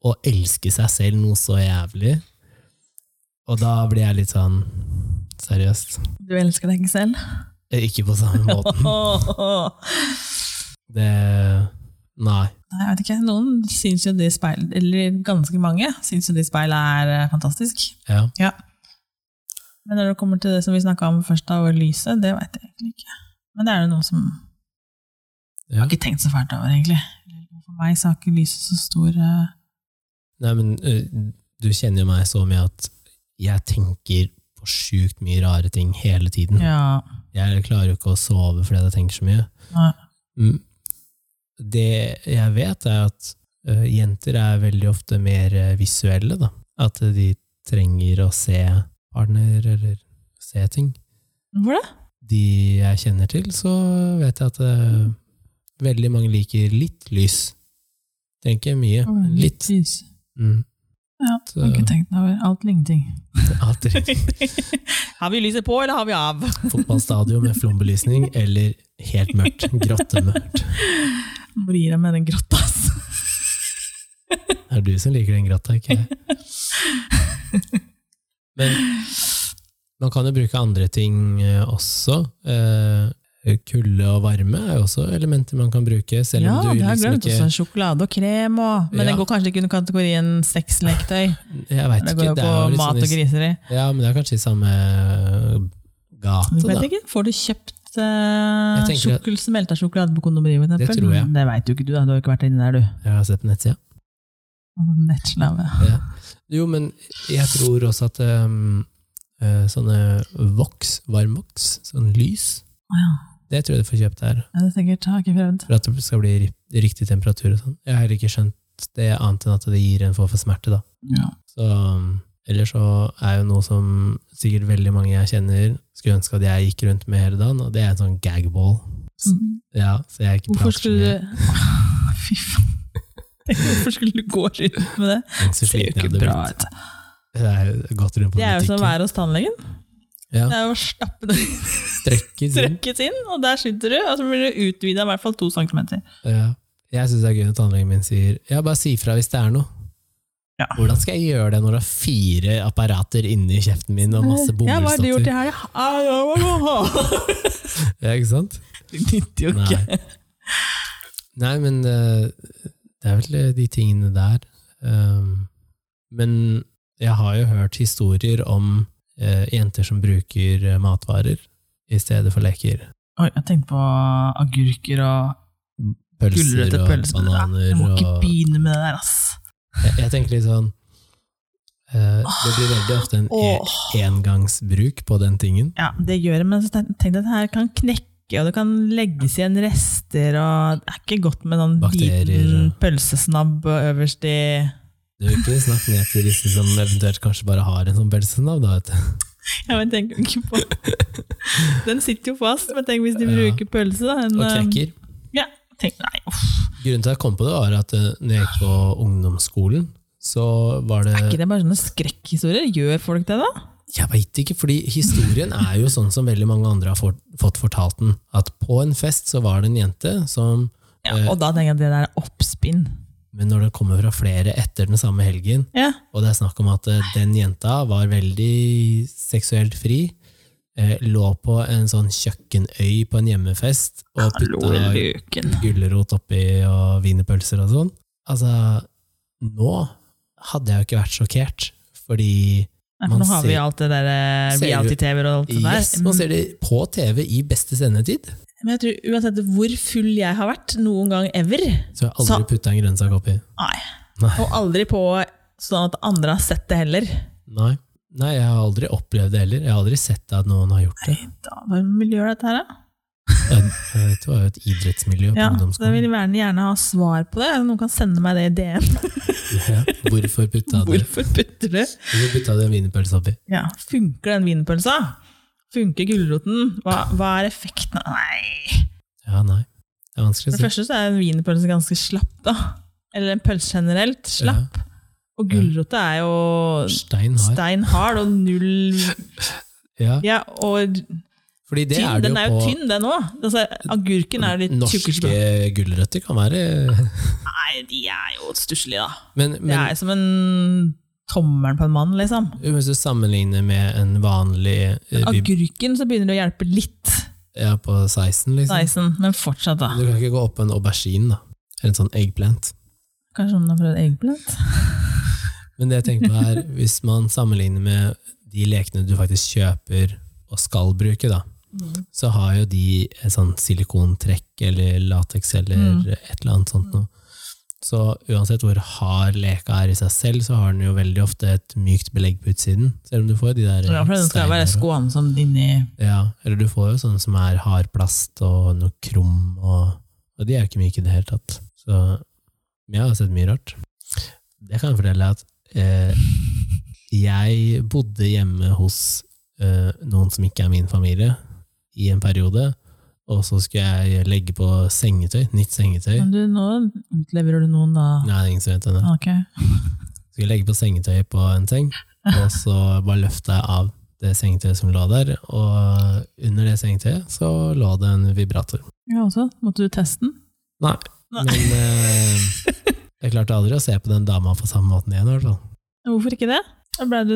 og elske seg selv noe så jævlig. Og da blir jeg litt sånn Seriøst.
Du elsker deg ikke selv?
Eh, Ikke på samme måten. Det Nei.
Nei, jeg vet ikke. Noen syns jo det speilet, eller ganske mange, syns jo det speilet er eh, fantastisk.
Ja.
Men når det kommer til det som vi snakka om først, da, og lyset, det veit jeg egentlig ikke. Men det er jo noe som jeg
ja.
har ikke tenkt så fælt over, egentlig. For meg så har ikke lyset så stor eh,
Nei, men ø, du kjenner jo meg så mye at jeg tenker på sjukt mye rare ting hele tiden.
Ja.
Jeg klarer jo ikke å sove fordi jeg tenker så mye.
Nei.
Mm. Det jeg vet er at ø, jenter er veldig ofte mer ø, visuelle, da. At de trenger å se partner eller se ting.
Hvorfor det?
De jeg kjenner til, så vet jeg at ø, veldig mange liker litt lys. Tenker mye, men litt.
lys.
Mm.
Ja,
Så-
har ikke tenkt meg over. Alt eller ingenting.
Alt riktig.
har vi lyset på, eller har vi av?
fotballstadion med flombelysning eller helt mørkt, grottemørkt.
Blir jeg med den grotta, altså? ass.
Det er du som liker den grotta, ikke jeg. Men man kan jo bruke andre ting eh, også. Eh, Kulde og varme er jo også elementer man kan bruke, selv
Ja,
om du
det har jeg
liksom
glemt. Også
ikke
sjokolade og krem og Men
Ja.
det går kanskje ikke under kategorien sexleketøy.
Jeg veit
Det
ikke.
går jo
Det
på
er jo litt
mat
sånn
og
i,
griseri.
ja, men det er kanskje i samme gate,
Du
da.
vet ikke. Får du kjøpt eh,
Jeg tenker at-
sjokol, smelta sjokolade på kondomeriet, for
Det
eksempel?
tror jeg.
Det veit jo ikke du, da. Du har jo ikke vært inni der, du. Altså,
Jeg har sett på nettsida.
Nettslave.
Ja. Jo, men jeg tror også at ehm, eh, sånne voks, varmvoks, sånn lys,
Å ja.
det tror jeg du får kjøpt der,
Ja, Det er sikkert. Har ikke prøvd.
for at det skal bli ri- riktig temperatur og sånn. Jeg har heller ikke skjønt det annet enn at det gir en form for smerte, da.
Ja.
Så um, ellers så er jo noe som sikkert veldig mange jeg kjenner, skulle ønske at jeg gikk rundt med hele dagen, og det er en sånn gagball. Ja, så jeg ikke
Mm. Hvorfor
prater så mye.
skulle du Fy faen. Hvorfor skulle du gå rundt med det?
Tenk så
Det ser jo
sliten jeg hadde
ikke bra
blitt.
ut.
Det er jo gått rundt på
Det er jo som å
butikken.
være hos tannlegen.
Ja,
Det er jo å stappe det
strekker rundt.
strøkket inn, og der sitter du, og så blir det utvida i hvert fall to centimeter.
Ja. Jeg syns det er gøy når tannlegen min sier ja, bare si fra hvis det er noe.
Ja.
Hvordan skal jeg gjøre det når det er fire apparater inni kjeften min og masse
Ja, hva har du gjort i
bomullsdotter?
helga? Ah, ja, hva da?
Ja, ikke sant?
Det nytter jo
Nei.
ikke.
Nei, men eh, det er vel eh, de tingene der. Um, men jeg har jo hørt historier om eh, jenter som bruker eh, matvarer i stedet for leker.
Oi, jeg tenkte på agurker og
Pølser
gulrøtter
og
pølser.
bananer
Jeg må ikke
og
begynne med det der, ass.
Jeg, jeg tenker litt sånn eh, Det blir veldig ofte en e
Åh.
engangsbruk på den tingen.
Ja, det gjør det, men så tenk- tenkte jeg at det her kan knekke, og det kan legges igjen rester, og det er ikke godt med noen
Bakterier.
liten pølsesnabb øverst i
Du vil ikke snakke ned til disse som eventuelt kanskje bare har en sånn pølsenav, da, vet du.
Ja, men tenk ikke på Den sitter jo fast, men tenk hvis de
Ja.
bruker pølse, da. En,
Og knekker.
Ja, tenk, nei, uff.
Grunnen til at jeg kom på det, var at eh, når jeg gikk på ungdomsskolen, så var
Er
det
ikke det bare sånne skrekkhistorier? Gjør folk det, da?
Jeg veit ikke, fordi historien er jo sånn som veldig mange andre har fått- fått fortalt den. At på en fest så var det en jente som Eh,
og da tenker jeg at det der er oppspinn.
Men når det kommer fra flere etter den samme helgen,
Ja.
og det er snakk om at eh, den jenta var veldig seksuelt fri, eh, lå på en sånn kjøkkenøy på en hjemmefest og
Hallo,
putta
luken.
gulrot oppi og wienerpølser og sånn. Altså, nå hadde jeg jo ikke vært sjokkert, fordi
Nei, for
Man
Nå har vi
ser-
alt det der
ser
eh,
jo-
reality-TV-er og alt det der. mm.
yes, man ser det på TV i beste sendetid.
Men jeg tror uansett hvor full jeg har vært noen gang ever,
Så jeg har aldri
Så-
putta en grønnsak oppi.
nei,
Nei.
og aldri på sånn at andre har sett det heller.
Nei. Nei, jeg har aldri opplevd det heller. Jeg har aldri sett at noen har gjort det.
Da, hva vil gjøre dette her, da?
Ja, Dette var jo et idrettsmiljø på
Ja, så jeg vil
ungdomsskolen.
gjerne, gjerne ha svar på det. Noen kan sende meg det i DM.
Ja, hvorfor putta du
Hvorfor putter du?
Hvorfor putta du en wienerpølse oppi?
Ja, funker den wienerpølsa? Funker gulroten? Hva, hva er effekten? Nei.
Ja, nei. Det er vanskelig
For
å
det
si.
første så er en wienerpølse ganske slapp, da. Eller en pølse generelt. Slapp.
Ja.
Og gulrot er jo
Stein har.
stein hard og null
Ja,
Ja, og
fordi det
tynn.
er det
den er jo
jo på
tynn, den òg. Altså, agurken er jo litt
Norske
tjukkere.
gulrøtter kan være
Nei, de er jo stusslige, da.
Men,
Det
men
er som en tommelen på en mann, liksom.
hvis du sammenligner med en vanlig eh, bib
Agurken så begynner det å hjelpe litt,
ja, på 16, liksom
Dyson, men fortsatt, da.
Du kan ikke gå opp på en aubergine, da. Eller en sånn eggplant.
Kanskje noen har prøvd eggplant?
Men det jeg tenker på er, hvis man sammenligner med de lekene du faktisk kjøper og skal bruke, da, så har jo de et sånn silikontrekk eller lateks eller
Mm.
et eller annet sånt noe. Så uansett hvor hard leka er i seg selv, så har den jo veldig ofte et mykt belegg på utsiden. Selv om du får de der
Ja, for den skal jo være
steinene.
skånsom inni
Ja, eller du får jo sånne som er hard plast og noe krum, og, og de er jo ikke myke i det hele tatt. Så men jeg har jo sett mye rart. Det kan jeg fortelle at eh, jeg bodde hjemme hos eh, noen som ikke er min familie, i en periode, og så skulle jeg legge på sengetøy, nytt sengetøy.
Men du, nå utleverer du noen, da.
Nei, det er ingen som vet det.
Ok.
Så skulle jeg legge på sengetøy på en seng, og så bare løfta jeg av det sengetøyet som lå der, og under det sengetøyet så lå det en vibrator.
Ja, også. Måtte du teste den?
Nei,
Nei.
men eh, jeg klarte aldri å se på den dama på samme måten igjen, i hvert fall.
Hvorfor ikke det? Da ble du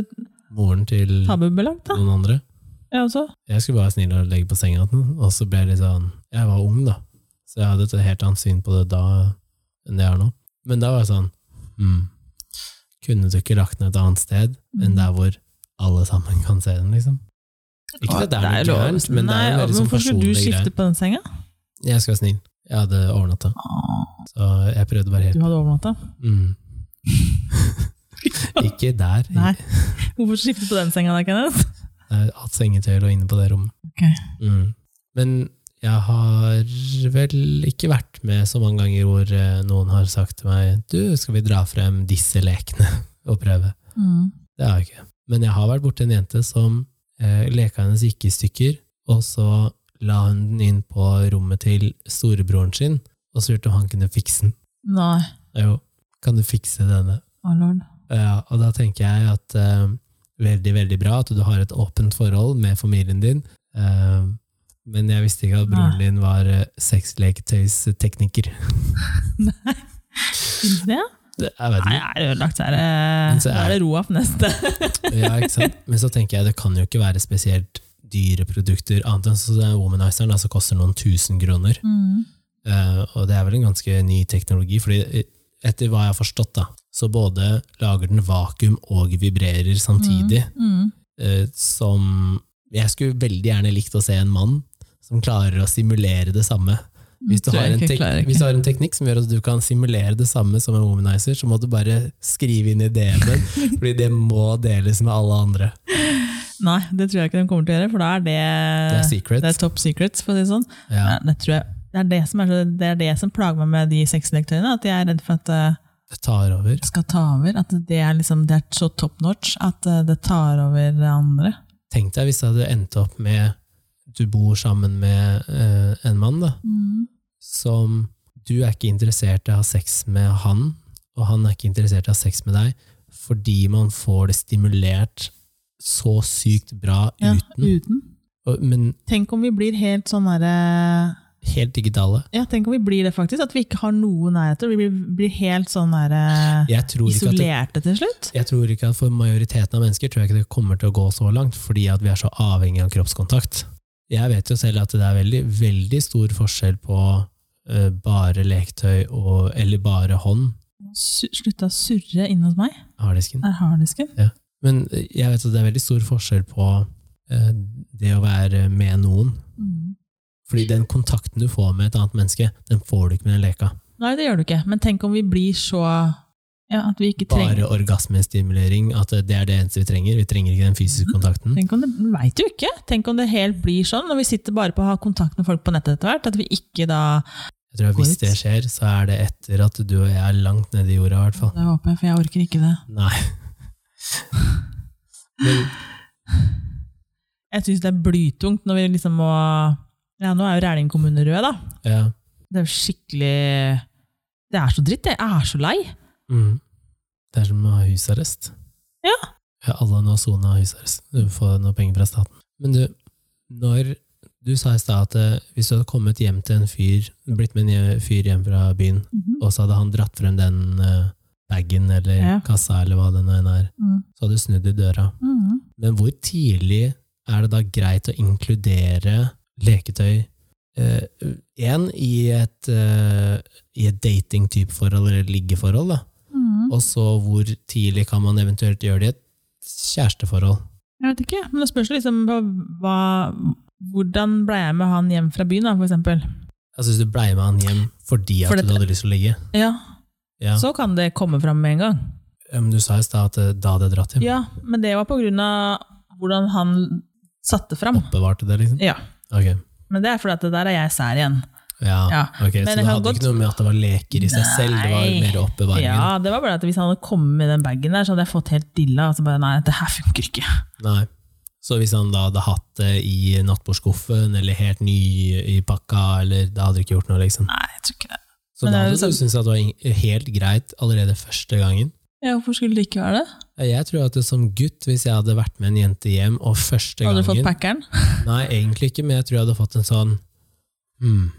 Moren til
tabubelagt, da.
noen andre.
Ja, også.
Jeg skulle bare være snill og legge på senga til den, og så ble jeg litt sånn Jeg var ung, da, så jeg hadde et helt annet syn på det da enn det jeg har nå. Men da var jeg sånn hmm, Kunne du ikke lagt den et annet sted
Mm.
enn der hvor alle sammen kan se den, liksom? Ikke at det er noe
lov.
gærent, men det er en
Nei, altså,
veldig sånn
Hvorfor skulle
personlig
du skifte
greie.
på den senga? Ah,
Jeg skal være snill. Jeg hadde overnatta, så jeg prøvde bare
Du
helt
hadde overnatta?
mm. Ikke der.
Nei. Hvorfor skifte på den senga da, Kenneth?
Nei, At sengetøy lå inne på det rommet.
Ok.
Mm. Men jeg har vel ikke vært med så mange ganger hvor eh, noen har sagt til meg du, skal vi dra frem disse lekene og prøve?
Mm.
Det har jeg ikke. Men jeg har vært borti en jente som eh, leka hennes gikk i stykker, og så la hun den inn på rommet til storebroren sin, og så lurte hun om han kunne fikse den.
Nei.
Jo, kan du fikse denne?
Å, lord.
Ja, Eh, og da tenker jeg at eh, veldig, veldig bra at du har et åpent forhold med familien din. Eh, men jeg visste ikke at broren din var eh, sexleketøystekniker.
Syns du det?
Det- Jeg vet ikke.
Nei, jeg er ødelagt. Så er
Men
det,
så
da er det Roaf neste.
Ja, ikke sant? Men så tenker jeg det kan jo ikke være spesielt dyre produkter, annet enn så den womanizeren da, som koster noen tusen kroner.
Mm.
Eh, og det er vel en ganske ny teknologi, fordi eh, etter hva jeg har forstått, da, så både lager den vakuum og vibrerer samtidig.
Mm.
eh, som Jeg skulle veldig gjerne likt å se en mann som klarer å simulere det samme. Hvis du,
Tror
har
jeg
en
ikke,
tek-
klarer ikke.
hvis du har en teknikk som gjør at du kan simulere det samme som en womanizer, så må du bare skrive inn i DM-en, fordi det må deles med alle andre.
Nei, det tror jeg ikke de kommer til å gjøre, for da er det
Det er secret.
det er top secrets, for å si det sånn.
Ja,
Nei, Det, tror jeg, det, er det, som er, så- det er det som plager meg med de sexlektøyene, at jeg er redd for at eh,
det tar over.
det skal ta over. At det er, liksom, det er så top notch at eh, det tar over det andre.
Tenk deg hvis det hadde endt opp med du bor sammen med eh, en mann da,
Mm.
som du er ikke interessert i å ha sex med han, og han er ikke interessert i å ha sex med deg, fordi man får det stimulert så sykt bra
Ja,
uten.
uten.
Og- Men
Tenk om vi blir helt sånn derre
Helt digitale.
Ja, tenk om vi blir det, faktisk. At vi ikke har noe nærheter. Vi blir, blir helt sånn der, eh,
Jeg tror, ikke at det,
isolerte til slutt.
jeg tror ikke at for majoriteten av mennesker tror jeg ikke det kommer til å gå så langt, fordi at vi er så avhengig av kroppskontakt. Jeg vet jo selv at det er veldig, veldig stor forskjell på eh, bare leketøy og, eller bare hånd,
Su- Slutta å surre inne hos meg.
harddisken.
Er harddisken.
Men eh, jeg vet at det er veldig stor forskjell på eh, det å være med noen.
Mm.
Fordi den kontakten du får med et annet menneske, den får du ikke med den leka.
Nei, det gjør du ikke. Men tenk om vi blir så ja, At vi ikke trenger
Bare orgasmestimulering, at eh, det er det eneste vi trenger. Vi trenger ikke den fysiske kontakten.
Mhm. Tenk om det, vi vet jo ikke. Tenk om det helt blir sånn, når vi sitter bare på å ha kontakt med folk på nettet etter hvert, at vi ikke da
Jeg tror at Hvis det skjer, så er det etter at du og jeg er langt nede i jorda, i hvert fall.
Det håper jeg, for jeg orker ikke det.
Nei. Men
Jeg syns det er blytungt når vi liksom må Ja, nå er jo Rælingen kommune rød, da.
ja.
Det er jo skikkelig Det er så dritt, jeg er så lei.
Mm. Det er som å ha husarrest.
Ja.
ja alle nå sona husarrest. Du får noe penger fra staten. Men du, når du sa i stad at eh, hvis du hadde kommet hjem til en fyr, blitt med en fyr hjem fra byen, og så hadde han dratt frem den eh, bagen eller
Mhm. Ja.
kassa eller hva det nå enn er,
Mm.
så hadde du snudd i døra.
Mhm.
Men hvor tidlig er det da greit å inkludere leketøy Én i et, eh, i et datingtype forhold eller liggeforhold, da.
Mhm.
Og så hvor tidlig kan man eventuelt gjøre det i et kjæresteforhold?
Jeg vet ikke, men det spørs liksom på hva Hvordan ble jeg med han hjem fra byen, da, for eksempel?
Altså hvis du blei med han hjem fordi at
For dette-
du hadde lyst til å ligge.
Ja,
Ja.
så kan det komme fram med en gang.
Ja, Men du sa i stad at eh, da hadde jeg dratt hjem.
Ja, men det var på grunn av hvordan han satte fram.
Oppbevarte det, liksom?
Ja,
Ok.
men det er fordi at det der er jeg sær igjen.
Ja.
Ja.
ok, Så
Men det
det
kan
hadde
godt-
ikke noe med at det var leker i seg selv, det var
Nei.
mer oppbevaringen?
Ja, det var bare at hvis han hadde kommet med den bagen der, så hadde jeg fått helt dilla. Og så bare, nei, det her funker ikke.
Nei. Så hvis han da hadde hatt det i nattbordskuffen, eller helt ny i pakka, eller det hadde ikke gjort noe, liksom.
Nei, jeg tror ikke det.
Så
Men
da
det er jo sånn-
hadde du syntes at det var ing- helt greit allerede første gangen.
Ja, hvorfor skulle det ikke være det?
Jeg tror at det som gutt, hvis jeg hadde vært med en jente hjem, og første
Hadde
gangen
du fått packeren?
Nei, egentlig ikke, men jeg tror jeg hadde fått en sånn hmm,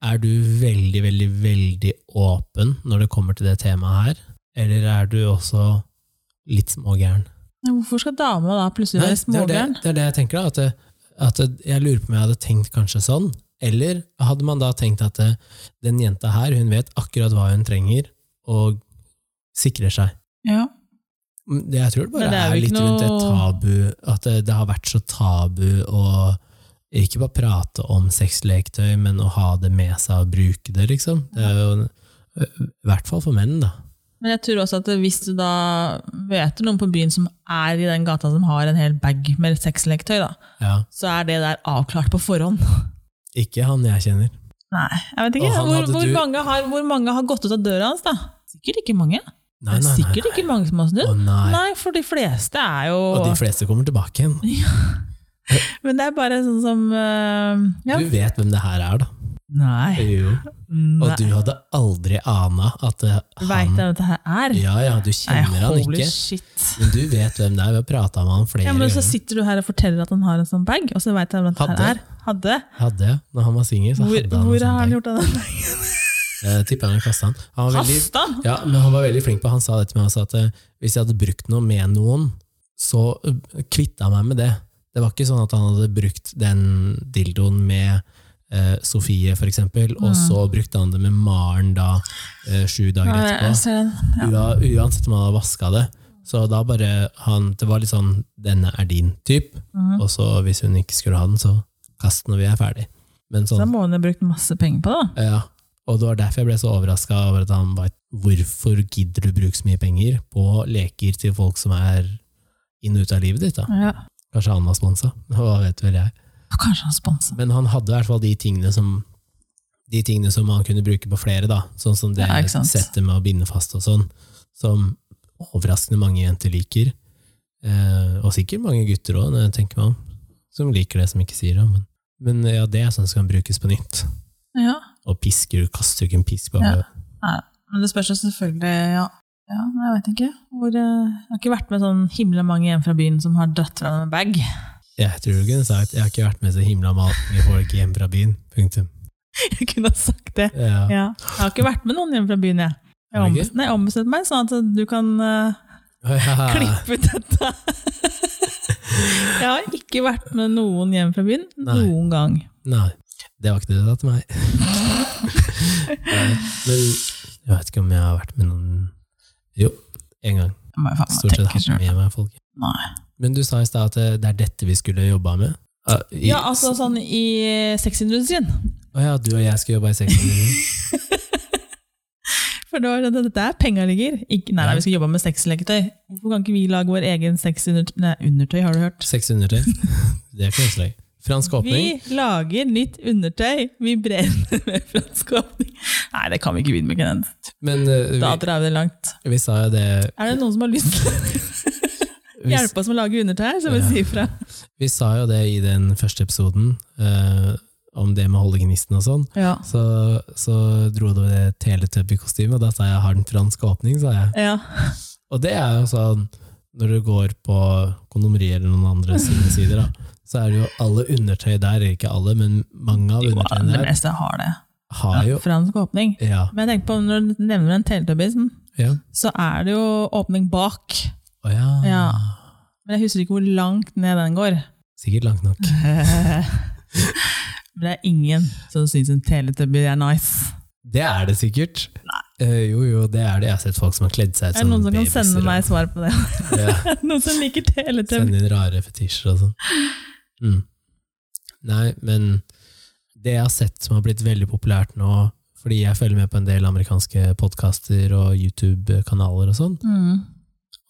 Er du veldig, veldig, veldig åpen når det kommer til det temaet her? Eller er du også litt smågæren?
Ja, Hvorfor skal dama da plutselig
Nei,
være
det, er det,
smågæren?
det er det jeg tenker, da. At, det- at det- jeg lurer på om jeg hadde tenkt kanskje sånn. Eller hadde man da tenkt at det, den jenta her, hun vet akkurat hva hun trenger, og sikrer seg.
Ja.
Mm, Det, jeg tror det bare
Men det er
er,
jo ikke
litt rundt det tabu, at det, det har vært så tabu å ikke bare prate om sexleketøy, men å ha det med seg og bruke det, liksom. Det er jo, I hvert fall for menn, da.
Men jeg tror også at hvis du da møter noen på byen som er i den gata som har en hel bag med sexleketøy, da,
Ja.
så er det der avklart på forhånd.
Ikke han jeg kjenner.
Nei, jeg vet
Og
ikke.
han
Hvor,
hadde
hvor,
du-
mange har, hvor mange har gått ut av døra hans, da? Sikkert ikke mange.
Nei,
Det er
nei, nei.
Sikkert ikke mange som har snudd.
Å nei.
Nei, for de fleste er jo
Og de fleste kommer tilbake igjen.
Men det er bare sånn som eh, ja.
Du vet hvem det her er, da.
Nei.
Jo. Og
Nei.
du hadde aldri ana at eh,
Veit
han
du hva dette her er?
Ja, ja, du
Nei,
kjenner han
holy
ikke,
shit.
men du vet hvem det er. Vi har prata med han flere
Ja, men så
ganger.
sitter du her og forteller at han har en sånn bag, og så veit jeg hva dette her
Hadde.
er. Hadde?
Hadde, når han var singel, så
Hvor,
hadde han
hvor har
en
han
sånn
gjort av den bagen?
bag. Eh, Tipper han kasta han. Han var, veldig,
Kasta han?
ja, men han var veldig flink på Han sa det til meg også, at eh, hvis jeg hadde brukt noe med noen, så eh, kvitta jeg meg med det. Det var ikke sånn at han hadde brukt den dildoen med eh, Sofie, for eksempel, og så brukte han det med Maren da, eh, sju dager
Nei,
etterpå.
jeg ser den.
Ua, uansett om han hadde vaska det. Så da bare han, Det var litt sånn 'denne er din' type.
Mhm. Mm.
Og så hvis hun ikke skulle ha den, så kast den når vi er ferdig. Men
Da
sånn,
må hun ha brukt masse penger på det, da.
ja. Og det var derfor jeg ble så overraska over at han bare Hvorfor gidder du bruke så mye penger på leker til folk som er inn og ut av livet ditt? da?
Ja.
Kanskje han var sponsa? Hva vet vel jeg.
Og Kanskje han sponser.
Men han hadde i hvert fall de tingene som de tingene som han kunne bruke på flere, da. Sånn som det
Ja, ikke sant.
settet med å binde fast og sånn, som overraskende mange jenter liker. Eh, og sikkert mange gutter òg, når jeg tenker meg om, som liker det som ikke sier det. Men, men ja, det er sånn som kan brukes på nytt.
Ja.
Og pisker, du kaster jo ikke en pisk på
Ja.
hodet.
Men det spørs jo selvfølgelig, ja. Ja, jeg vet ikke. Hvor, eh, jeg har ikke vært med sånn himla mange hjem fra byen som har dratt fra en bag.
Jeg tror du kunne sagt jeg har ikke vært med så himla mange folk hjem fra byen. Punktum.
Jeg kunne ha sagt det.
Ja.
Ja. Jeg har ikke vært med noen hjemme fra byen, jeg.
Har
Jeg
du ikke?
ombestemte, jeg ombestemte meg, sånn at du kan eh,
Ja.
klippe ut dette. jeg har ikke vært med noen hjemme fra byen
Nei.
noen gang.
Nei, det var ikke det du sa til meg. Nei, Men jeg vet ikke om jeg har vært med noen Jo, én gang.
Jeg må jo faen meg
Stort sett
tenke
hatt
selv.
med meg folk.
Nei.
Men du sa i stad at eh, det- det er dette vi skulle jobba med. Ah, i-
Ja, altså sånn i sexindustrien.
Å ja, du og jeg skal jobbe i sexindustrien.
For det var det, det der penga ligger. Ikke, nei, nei, vi skal jobbe med sexleketøy. Hvorfor kan ikke vi lage vår egen sexundertøy? Nei, undertøy, har du hørt?
Sexundertøy. Det er ikke noe slag. Fransk åpning.
Vi lager nytt undertøy! Vi brenner med fransk åpning. Nei, det kan vi ikke begynne med. Kenneth.
Men eh,
Da drar vi det langt.
vi, vi sa jo det
Er det noen som har lyst til å
vi,
hjelpe oss med å lage undertøy, så må
Ja.
vi si ifra.
vi sa jo det i den første episoden, eh, om det med å holde gnisten og sånn.
Ja.
Så, så dro du det teletubby-kostymet, og da sa jeg 'har den fransk åpning', sa jeg.
ja.
Og det er jo sånn, når du går på kondomeriet eller noen andre sine sider, da, så er det jo alle undertøy der, ikke alle, men mange av
Jo,
undertøyene
det
der
meste har det.
har jo
Fransk åpning.
Ja.
Men jeg tenker på, når du nevner en teletubbies,
ja.
så er det jo åpning bak.
Å ja.
Ja. Men jeg husker ikke hvor langt ned den går.
Sikkert langt nok.
Men det er ingen som syns en teletubby er nice.
Det er det sikkert. Eh, jo, jo, det er det. Jeg har sett folk som har kledd seg ut
Er det
som
noen som kan
babyer
sende
og-
meg svar på det?
Ja,
noen som liker teletubby?
sende inn rare fetisjer og sånn. Mm. Nei, men det jeg har sett som har blitt veldig populært nå, fordi jeg følger med på en del amerikanske podkaster og YouTube-kanaler og sånn,
Mm.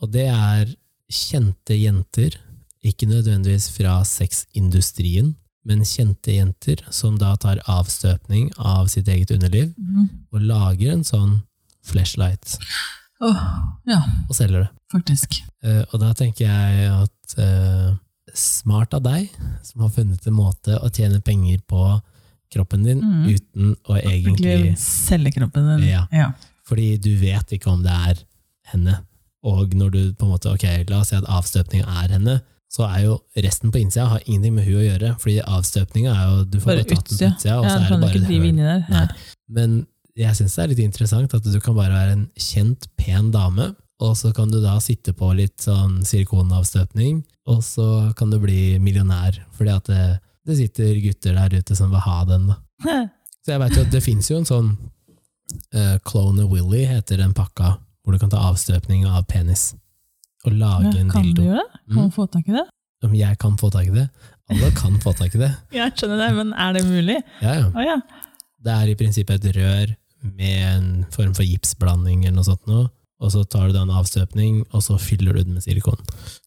Og det er kjente jenter, ikke nødvendigvis fra sexindustrien, men kjente jenter som da tar avstøpning av sitt eget underliv
Mhm.
og lager en sånn flashlight
Åh, ja,
og selger det.
faktisk.
Eh, og da tenker jeg at eh, smart av deg som har funnet en måte å tjene penger på kroppen din
Mm.
uten å egentlig
Egentlig selge kroppen din.
Ja. Fordi du vet ikke om det er henne. Og når du på en måte, ok, la oss si at avstøpninga er henne, så er jo resten på innsida har ingenting med hun å gjøre. Fordi avstøpninga er jo Du får
Bare
bare tatt den på
utsida.
utsida, og
Ja,
så
du
er
kan
det
ikke
bare
drive
høl.
inni der.
Nei. Men jeg syns det er litt interessant at du kan bare være en kjent, pen dame, og så kan du da sitte på litt sånn silikonavstøpning, og så kan du bli millionær. Fordi at det, det sitter gutter der ute som vil ha den, da.
Nei.
Så jeg vet jo at det finnes jo en sånn uh, Clone of Willy heter den pakka, hvor du kan ta avstøpning av penis. Og lage en
Kan du
dildo.
gjøre det? Kan
Mm.
du få tak i det?
Om jeg kan få tak i det? Alle kan få tak i det.
Jeg skjønner det, men er det mulig?
Ja, ja.
Å ja.
Det er i prinsippet et rør med en form for gipsblanding eller noe sånt noe. Og så tar du da en avstøpning, og så fyller du den med silikon.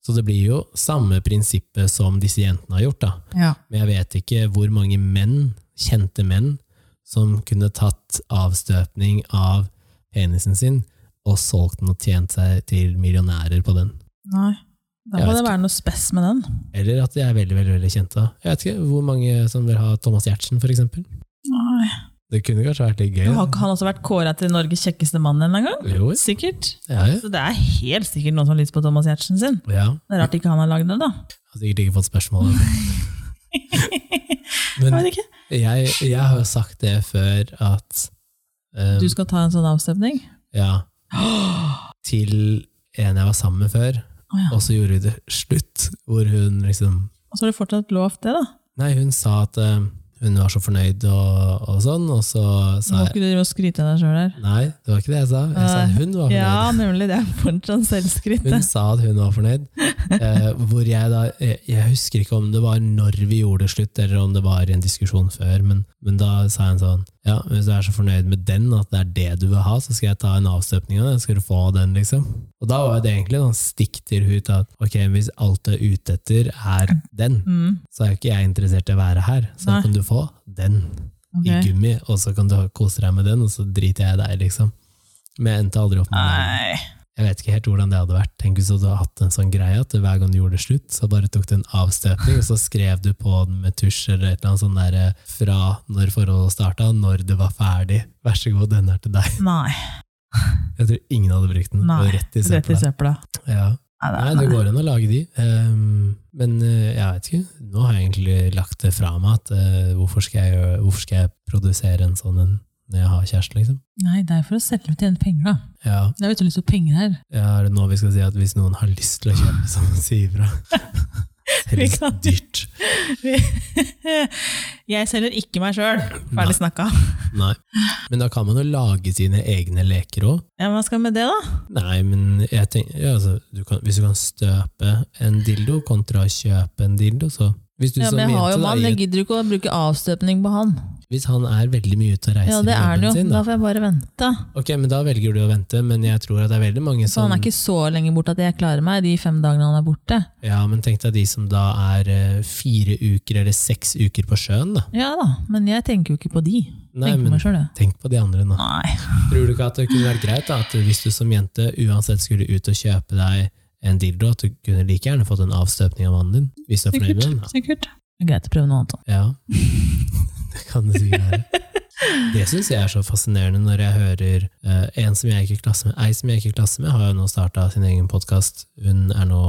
Så det blir jo samme prinsippet som disse jentene har gjort, da.
ja.
Men jeg vet ikke hvor mange menn, kjente menn, som kunne tatt avstøpning av penisen sin og solgt den og tjent seg til millionærer på den.
Nei. Da
Jeg
må
vet
det
ikke.
være noe spess med den.
Eller at de er veldig, veldig, veldig kjente. da. Jeg vet ikke hvor mange som vil ha Thomas Giertsen, for eksempel.
Nei.
Det kunne kanskje vært litt gøy.
Har
da.
ikke han også vært kåra til Norges kjekkeste mann en eller annen gang?
Jo,
Sikkert.
ja, ja.
Så det er helt sikkert noen som har lyst på Thomas Giertsen sin.
ja.
Det er rart ikke han har lagd det, da.
Altså, Har sikkert ikke fått spørsmål.
Jeg
Men
vet ikke.
jeg, jeg har jo sagt det før at eh,
Du skal ta en sånn avstøpning?
Ja. Til en jeg var sammen med før.
Å ja.
Og så gjorde vi det slutt, hvor hun liksom
Og så har du fortsatt lovt det, da.
Nei, hun sa at eh, hun var så fornøyd og, og sånn, og så
Så
sa
må
jeg
ikke du drive og skryte av deg sjøl her.
Nei, det var ikke det jeg sa. Jeg sa
Nei.
hun var fornøyd.
Ja, nemlig. Det er fortsatt selvskryt. det.
Hun sa at hun var fornøyd. Eh, hvor jeg da jeg, jeg husker ikke om det var når vi gjorde det slutt, eller om det var i en diskusjon før, men, men da sa hun sånn Ja, hvis du er så fornøyd med den at det er det du vil ha, så skal jeg ta en avstøpning av den. Skal du få den, liksom? Og da var det egentlig sånn stikk til hun til at ok, hvis alt du er ute etter, er den,
Mm,
så er jo ikke jeg interessert i å være her. Så da
Nei.
kan du få den
ok.
i gummi, og så kan du kose deg med den, og så driter jeg i deg, liksom. Men jeg endte aldri opp med den.
Nei.
Jeg vet ikke helt hvordan det hadde vært. Tenk hvis du hadde hatt en sånn greie at hver gang du gjorde det slutt, så bare tok du en avstøpning, og så skrev du på den med tusj eller et eller annet sånn der eh, fra når forholdet starta, når det var ferdig. Vær så god, denne er til deg.
Nei.
Jeg tror ingen hadde brukt den. Det var
Nei.
Rett i
Rett i
søpla.
søpla.
Ja.
Nei,
Nei, det går an å lage de. Ehm, men eh, jeg vet ikke. Nå har jeg egentlig lagt det fra meg. at eh, hvorfor, skal jeg, gjøre- hvorfor skal jeg produsere en sånn en når jeg har kjæreste, liksom?
Nei, det er for å selge og tjene penger, da.
Ja,
Det er jo ikke lyst på penger her.
ja, er det nå vi skal si at hvis noen har lyst til å kjøpe, så si ifra?
Vi
Helst
kan-
dyrt.
Jeg selger ikke meg sjøl,
Nei.
ferdig snakka.
Nei. Men da kan man jo lage sine egne leker òg.
Ja, hva skal med det, da?
Nei, men jeg tenker, ja, altså, du kan, hvis du kan støpe en dildo kontra å kjøpe en dildo, så hvis, du
Ja,
som
men jeg har jo
jente, da,
mann, jeg
i-
gidder ikke å bruke avstøpning på han.
hvis han er veldig mye ute og reiser
Ja, det
med
er han
jobben
jo.
sin,
Da
da,
får jeg bare vente.
Ok, men da velger du å vente, men jeg tror at det er veldig mange
Så han
som
er ikke så lenge borte at jeg klarer meg de fem dagene han er borte.
Ja, men tenk deg de som da er eh, fire uker eller seks uker på sjøen, da.
Ja da, men jeg tenker jo ikke på de.
Nei,
tenker på
men-
meg selv, jeg.
Tenk på de andre nå.
Nei.
Tror du ikke at det kunne vært greit da, at hvis du som jente uansett skulle ut og kjøpe deg en dildo, at du kunne like gjerne fått en avstøpning av mannen din, hvis du er fornøyd med den? da?
Sikkert. sikkert.
Det er greit å prøve noe annet. da.
Ja, det kan det sikkert være. Det syns jeg er så fascinerende når jeg hører eh, en som jeg gikk i klasse med, ei som jeg gikk i klasse med, har jo nå starta sin egen podkast. Hun er nå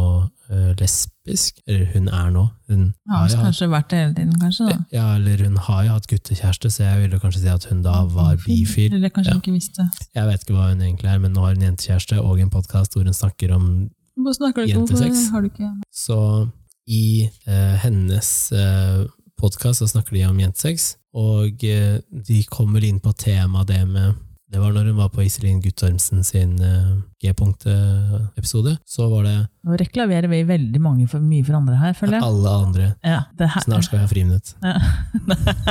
eh, lesbisk. Eller hun er nå. Hun
Har
har jo hatt
kanskje vært det hele tiden, kanskje. da.
ja, eller hun har jo hatt guttekjæreste, så jeg ville kanskje si at hun da var bifil.
Eller kanskje
Ja.
ikke visste.
Jeg vet ikke hva hun egentlig er, men nå har hun jentekjæreste og en podkast hvor hun snakker om
Hvorfor snakker
du ikke om- Jentesex.
Har du ikke
Så i eh, hennes eh, podkast så snakker de om jentesex, og eh, de kommer inn på temaet det med Det var når hun var på Iselin Guttormsen sin eh, G-punkt-episode. Så var det
Nå reklamerer vi veldig mange for, mye for andre her, føler jeg.
alle andre.
Ja, det her.
Snart skal vi ha friminutt.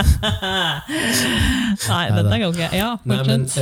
Nei,
Nei,
dette
det-
går ikke. Ja,
Nei, men
fortsett.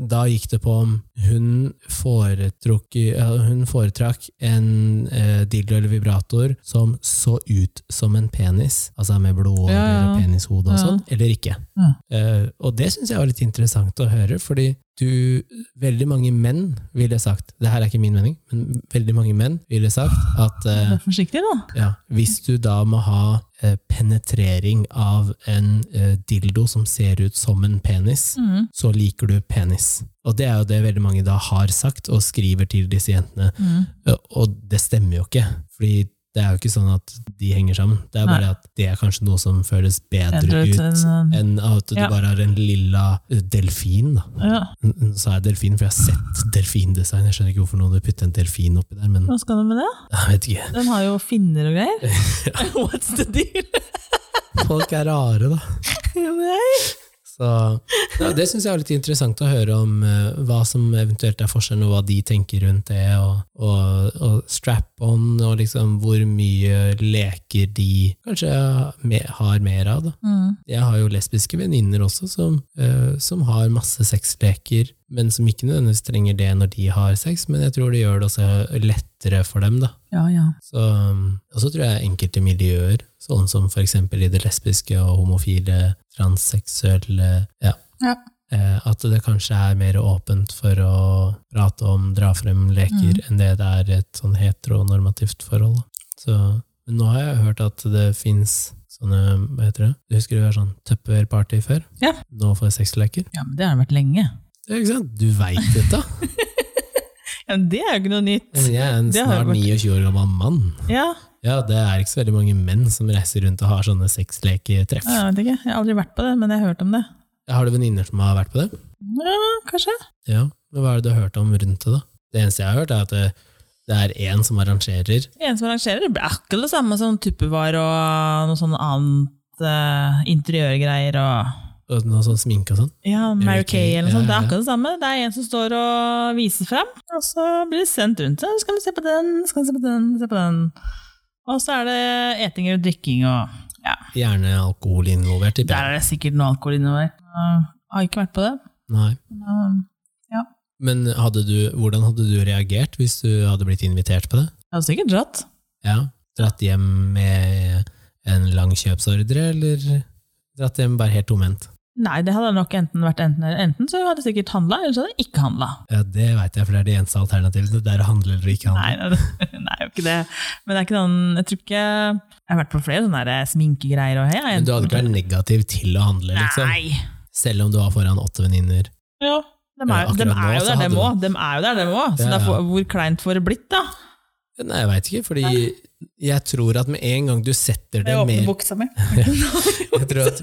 eh, da gikk det på om hun foretrakk, ja, hun foretrakk en eh, dildo eller vibrator som så ut som en penis, altså med blodårer
Ja, ja.
og penishode og
Ja.
sånn, eller ikke.
Ja.
Eh, og det syns jeg var litt interessant å høre, fordi du, veldig mange menn ville sagt, det her er ikke min mening, men veldig mange menn ville sagt at eh,
Vær forsiktig, da.
ja, hvis du da må ha eh, penetrering av en eh, dildo som ser ut som en penis,
Mhm.
så liker du penis. Og det er jo det veldig mange da har sagt og skriver til disse jentene.
Mhm.
Ja, Og det stemmer jo ikke, fordi det er jo ikke sånn at de henger sammen. Det er bare at det er kanskje noe som føles bedre
Bedre ut
ut
enn, eh,
enn at du
ja.
bare har en lilla eh, delfin. da.
Ja.
Nå sa jeg delfin, for jeg har sett delfindesign. Jeg skjønner ikke hvorfor noen hadde puttet en delfin oppi der, men
Hva skal du med det?
jeg vet ikke.
Den har jo finner og greier. What's the deal?
Folk er rare, da.
Nei.
Så, ja, det syns jeg er litt interessant å høre om eh, hva som eventuelt er forskjellen, og hva de tenker rundt det, og, og, og strap-on, og liksom hvor mye leker de kanskje me- har mer av. Da.
Mm.
Mhm.
Jeg har jo lesbiske venninner også som, eh, som har masse sexleker, men som ikke nødvendigvis trenger det når de har sex, men jeg tror det gjør det også lettere for dem, da.
ja, ja.
Så, um, og så tror jeg enkelte miljøer, sånn som for eksempel i det lesbiske og homofile, transseksuelle, ja,
Ja.
Eh, at det kanskje er mer åpent for å prate om, dra frem
Mm.
leker, enn det det er et sånn heteronormativt forhold. da. Så, men nå har jeg hørt at det fins sånne, hva heter det, du husker det var sånn tupperparty før?
Ja.
Nå får jeg sexleker.
Ja, men det har det vært lenge.
Ja, ikke sant? Du veit dette!
Ja, men det er jo ikke noe nytt.
Men Jeg er en
Det har
snart
jo vært-
29 år gammel mann.
Ja,
Ja, det er ikke så veldig mange menn som reiser rundt og har sånne sexleketreff.
jeg vet ikke. Jeg har aldri vært på det, men jeg har hørt om det.
Har du venninner som har vært på det?
Ja, kanskje.
Ja. Men hva er det du har hørt om rundt det, da? Det eneste jeg har hørt, er at det, det er én som arrangerer.
En som arrangerer, det blir akkurat det samme som tuppevar og noe sånn annet eh, interiørgreier og
Og noe sånn sminke og sånn.
ja,
Mary
Mary
Kay,
Kay eller noe sånt.
ja,
Det er
ja.
akkurat det samme. Det er en som står og viser frem, og så blir det sendt rundt. Så skal vi se på den, skal vi se på den, se på den. Og så er det eting og drikking og ja.
Gjerne alkohol involvert. tipper
Der
jeg.
er det sikkert noe alkohol innover. Jeg har ikke vært på det.
Nei.
men, eh,
Men hadde du, hvordan hadde du reagert hvis du hadde blitt invitert på det?
Jeg har sikkert dratt.
Ja. Dratt hjem med en lang kjøpsordre, eller dratt hjem bare helt tomhendt?
Nei, det hadde nok enten vært enten eller enten, så hadde jeg sikkert handla, eller så hadde jeg ikke handla.
Ja, det veit jeg, for det er det eneste alternativet. Det er å handle eller ikke handle.
Nei, nei, nei, jo ikke det. Men det er ikke noen Jeg tror ikke Jeg har vært på flere sånne der sminkegreier og hei. jeg-
Men du hadde ikke vært negativ til å handle, liksom?
Nei!
Selv om du var foran åtte venninner.
Ja. De er,
Ja, Eh, akkurat
dem
nå
er jo
så
der,
hadde
dem
du-
òg. Dem er jo der, dem òg. Så
Ja,
da
ja.
får- hvor kleint får det blitt, da?
Nei, jeg veit ikke, fordi jeg tror at med en gang du setter det
Jeg åpner
mer
buksa mi.
Jeg tror at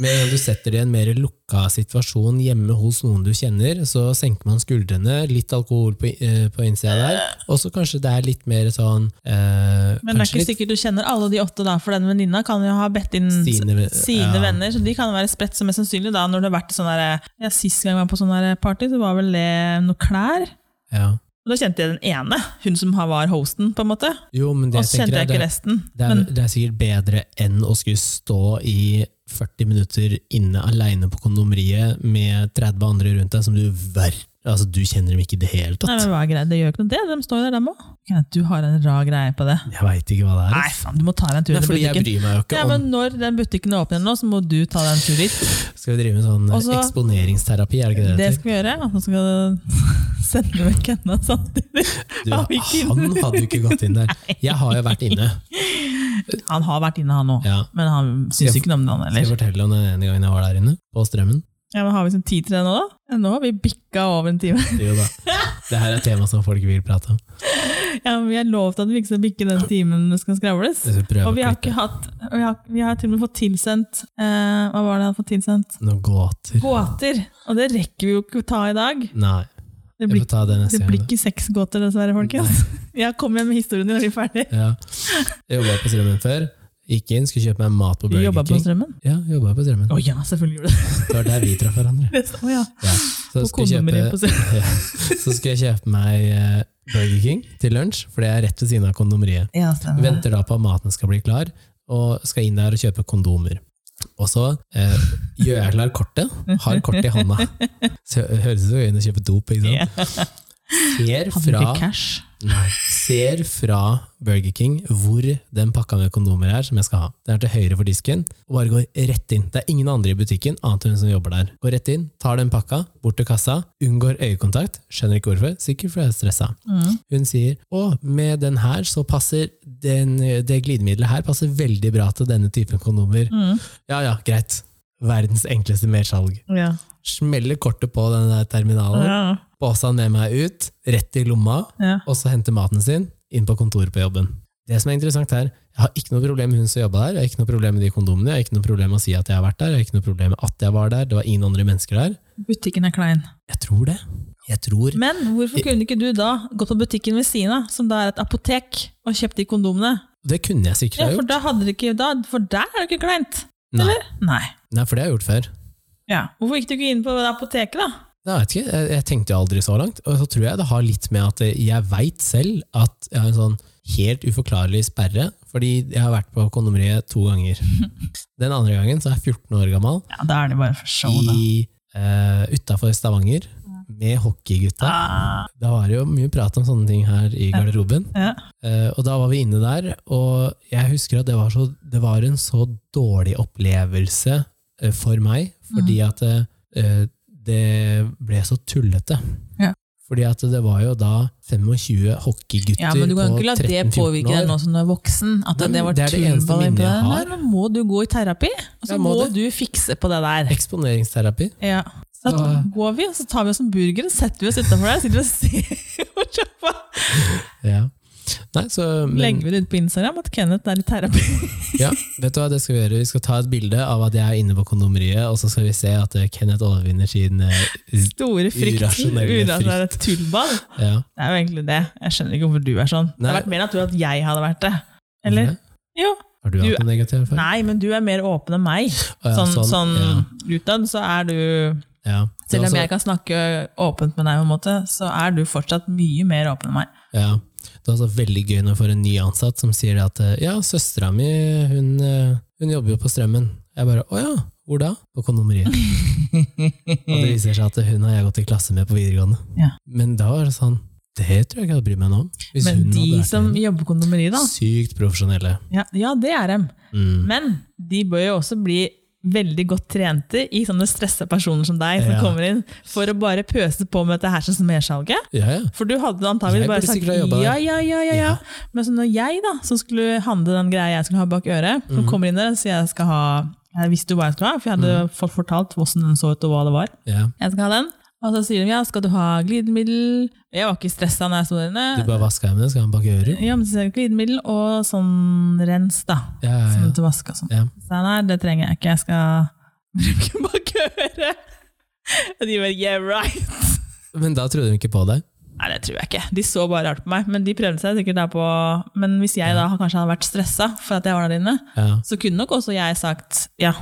med en gang du setter det i en mer lukka situasjon hjemme hos noen du kjenner, så senker man skuldrene, litt alkohol på, eh, på innsida der, og så kanskje det er litt mer sånn eh,
Men det er
kanskje
ikke
litt
sikkert du kjenner alle de åtte, da, for den venninna kan jo ha bedt inn s-
sine,
sine
ja.
venner, så de kan være spredt som mest sannsynlig da, når det har vært sånn der, ja, Sist gang jeg var på sånn der party, så var vel det noe klær.
Ja.
Og da kjente jeg den ene, hun som har- var hosten, på en måte.
Jo, men det
Og så kjente
tenker
jeg
jeg,
ikke
det,
resten.
det, er,
Men
det er sikkert bedre enn å skulle stå i 40 minutter inne aleine på kondomeriet med 30 andre rundt deg som du ver Altså, du kjenner dem ikke i det hele
Nei,
tatt.
men hva er greit, det gjør ikke noe det. De står jo der, dem òg. Du har en rar greie på det.
Jeg veit ikke hva det er. altså.
Nei, faen, du må ta deg en tur
Det er
i
fordi jeg
butikken.
bryr meg jo ikke
Ja,
om
men når den butikken åpner igjen nå, så må du ta deg en tur dit.
Skal vi drive med sånn
Og så-
eksponeringsterapi, er det ikke det?
Det
det
skal vi gjøre. Og så skal du sende vekk henne samtidig.
du,
har vi ikke inn-
han hadde jo ikke gått inn der. Jeg har jo vært inne.
Han har vært inne, han òg.
Ja.
Men han syns ikke noe om det, han
Skal jeg
heller.
fortelle om den ene gangen jeg var der inne, på Strømmen?
Ja, men Har vi sånn tid til det nå, da? Ja, Nå har vi bikka over en time.
Det er jo da. Det her er et tema som folk vil prate om.
Ja, men Vi har lovt at vi ikke skal bikke den timen det skal skravles.
Jeg skal prøve
Og
å
vi har ikke
klikke
hatt Vi har, vi har til og med fått tilsendt eh, Hva var det han hadde fått tilsendt?
noen gåter.
Gåter! Og det rekker vi jo ikke å ta i dag.
Nei,
Det
jeg
blir,
får ta det
det
neste
blir
gang. da.
ikke seks gåter, dessverre, folkens. Jeg kommer med historien din når vi er ferdig.
Ja. Jeg jobba på Strømmen før. Gikk inn, skulle kjøpe meg mat på
Du jobba
Burger
på
King.
Strømmen?
Ja, jobba på Strømmen.
Å ja, selvfølgelig gjorde du det.
Det var der vi traff hverandre.
det. Å ja.
Ja. Så,
På
skulle jeg
kondomeriet på
kjøpe,
Strømmen.
ja. så skulle jeg kjøpe meg eh, Burger King til lunsj, for det er rett ved siden av kondomeriet.
Ja, stemmer.
Venter da på at maten skal bli klar, og skal inn der og kjøpe kondomer. Og så eh, gjør jeg klar kortet, har kortet i hånda. Så hø- høres ut som jeg er inne og kjøper dop, ikke sant? Ser
Hadde du
fra,
ikke cash?
nei, ser fra Burger King hvor den pakka med kondomer er som jeg skal ha. Den er til høyre for disken, og bare går rett inn. Det er ingen andre i butikken annet enn hun som jobber der. Går rett inn, tar den pakka, bort til kassa, unngår øyekontakt, skjønner ikke hvorfor, sikkert fordi jeg er stressa. Hun sier å, med den her så passer den, det glidemiddelet her passer veldig bra til denne typen kondomer. Ja ja, greit. Verdens enkleste mersalg.
Ja.
Smeller kortet på den der terminalen,
Ja.
båsa med meg ut, rett i lomma,
Ja.
og så henter maten sin inn på kontoret på jobben. Det som er interessant her, Jeg har ikke noe problem med hun som jobba der, jeg har ikke noe problem med de kondomene, jeg har ikke noe problem med å si at jeg har vært der, jeg har ikke noe problem med at jeg var der, det var ingen andre mennesker der.
Butikken er klein.
Jeg tror det. Jeg tror
Men hvorfor kunne ikke du da gå på butikken ved siden av, som da er et apotek, og kjøpt de kondomene?
Det kunne jeg sikkert
Ja,
ha
For
gjort.
da hadde det ikke da, For der er det ikke kleint!
Nei,
Nei.
nei, for det har jeg gjort før.
Ja. Hvorfor gikk du ikke inn på det apoteket, da?
Nei, Jeg vet ikke, jeg, jeg tenkte jo aldri så langt, og så tror jeg det har litt med at jeg veit selv at jeg har en sånn helt uforklarlig sperre, fordi jeg har vært på kondomeriet to ganger. Den andre gangen så er jeg 14 år gammel,
Ja, Da er det bare for show,
i, eh, utafor Stavanger, med hockeygutta.
Ah,
Da var det jo mye prat om sånne ting her i garderoben.
ja.
Eh, og da var vi inne der, og jeg husker at det var, så, det var en så dårlig opplevelse eh, for meg, fordi
Mm.
at eh, det ble så tullete.
Ja.
Fordi at det var jo da 25 hockeygutter
ja, men du kan
på
ikke la det
13-14
påvirke deg
år.
nå som du er voksen. At
Nei,
det
men
var
det er det
tull
eneste
på deg
minnet
på
jeg
det
har.
der. Nå må du gå i terapi, og så
Jeg
må,
må
du fikse på det der.
Eksponeringsterapi.
Ja. Så da
Så-
går vi, og så tar vi oss en burger, og setter vi oss utenfor der, sitter og ser på sjappa.
Ja. Nei, så, men,
Legger vi det ut på Instagram at Kenneth er i terapi.
ja, vet du hva, det skal vi gjøre. Vi skal ta et bilde av at jeg er inne på kondomeriet, og så skal vi se at eh, Kenneth overvinner sin eh,
Store frykten.
Urasjonelle
Urasjonelle tullball.
ja.
Det er jo egentlig det. Jeg skjønner ikke hvorfor du er sånn. Det hadde
Nei.
vært mer naturlig at jeg hadde vært det. Eller? Jo.
Har du
Du-
hatt noen negativ erfaring?
Nei, men du er mer åpen enn meg.
Å ja,
Sånn, sånn
ja,
utad så er du
ja.
Selv om
Altså-
jeg kan snakke åpent med deg, på en måte, så er du fortsatt mye mer åpen enn meg.
Ja. Det er altså veldig gøy når jeg får en ny ansatt som sier at eh, ja, søstera mi hun, eh, hun jobber jo på Strømmen. Jeg bare å ja, hvor da? På kondomeriet. og det viser seg at hun har jeg gått i klasse med på videregående.
Ja.
Men da var det sånn Det tror jeg ikke jeg hadde brydd meg noe om. Hvis
Men
hun
de
hadde vært
som
en
jobber på kondomeri, da,
Sykt profesjonelle.
ja, ja, det er dem.
Mm.
Men de bør jo også bli veldig godt trente i sånne stressa personer som deg, som
Ja.
kommer inn, for å bare pøse på med dette her som mersalget.
Ja, ja.
For du hadde antagelig
Jeg
bare
burde
sagt
sikkert ha jobbet der.
ja, ja, ja, ja, ja.
Ja.
Men så når jeg da, som skulle handle den greia jeg skulle ha bak øret, som
Mm.
kommer inn der og sier jeg skal
Mm.
ha, jeg visste jo hva jeg skulle ha, for jeg hadde fått fortalt hvordan den så ut og hva det var.
ja.
Jeg skal ha den. Og så sier de ja, skal du ha glidemiddel? Jeg var ikke stressa når jeg sto der
Du
inne.
bare vasker hendene, skal han bak ører?
Ja, men så sier de glidemiddel og sånn rens, da.
Ja, ja,
Sånn
ja.
til vask og sånn.
Ja.
Så jeg, nei, det trenger jeg ikke. Jeg skal bruke bak øret. Og de bare yeah, right.
Men da trodde hun ikke på deg.
Nei, det tror jeg ikke. De så bare rart på meg. Men de prøvde seg sikkert da på Men hvis jeg da kanskje hadde vært stressa for at jeg var der inne,
Ja.
så kunne nok også jeg sagt ja.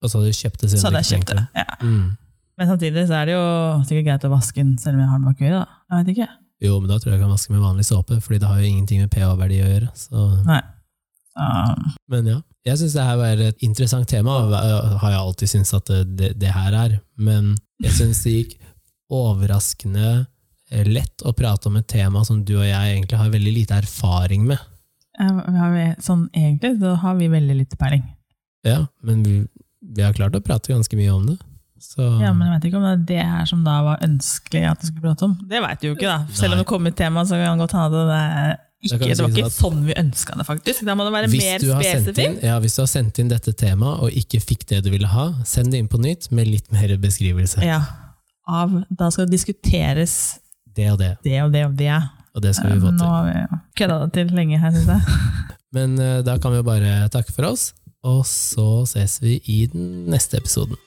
Og så hadde du kjøpt det siden
Så
du
hadde
ikke
jeg kjøpt det.
trengte
Ja.
Mm.
Men samtidig så er det jo sikkert greit å vaske den selv om jeg har den bak øret. da. Jeg vet ikke.
Jo, men da tror jeg jeg kan vaske med vanlig såpe, fordi det har jo ingenting med pH-verdi å gjøre. Så.
Nei. Um,
Men ja, jeg syns det her var et interessant tema, og øh, har jeg alltid syntes at det, det, det her er. Men jeg syns det gikk overraskende eh, lett å prate om et tema som du og jeg egentlig har veldig lite erfaring med.
jeg- har vi, sånn egentlig så har vi veldig lite peiling.
Ja, men vi, vi har klart å prate ganske mye om det. Så
Ja, Men jeg vet ikke om det er det her som da var ønskelig at du skulle prate om. Det veit du jo ikke, da. Selv om
Nei.
det kom et tema, så kan det godt hende at det er
Da kan
ikke,
vi
det var
si
ikke
sånn
sånn vi ønska det, faktisk. Da må det være
hvis
mer
du, har sendt inn,
spesifikt.
ja, hvis du har sendt inn dette temaet og ikke fikk det du ville ha, send det inn på nytt med litt mer beskrivelse.
Ja. Av Da skal det diskuteres
Det og det,
det og det og det.
og det skal vi få
Eh, Nå
til.
har vi kødda det til lenge her, syns jeg.
Men eh, da kan vi jo bare takke for oss, og så ses vi i den neste episoden.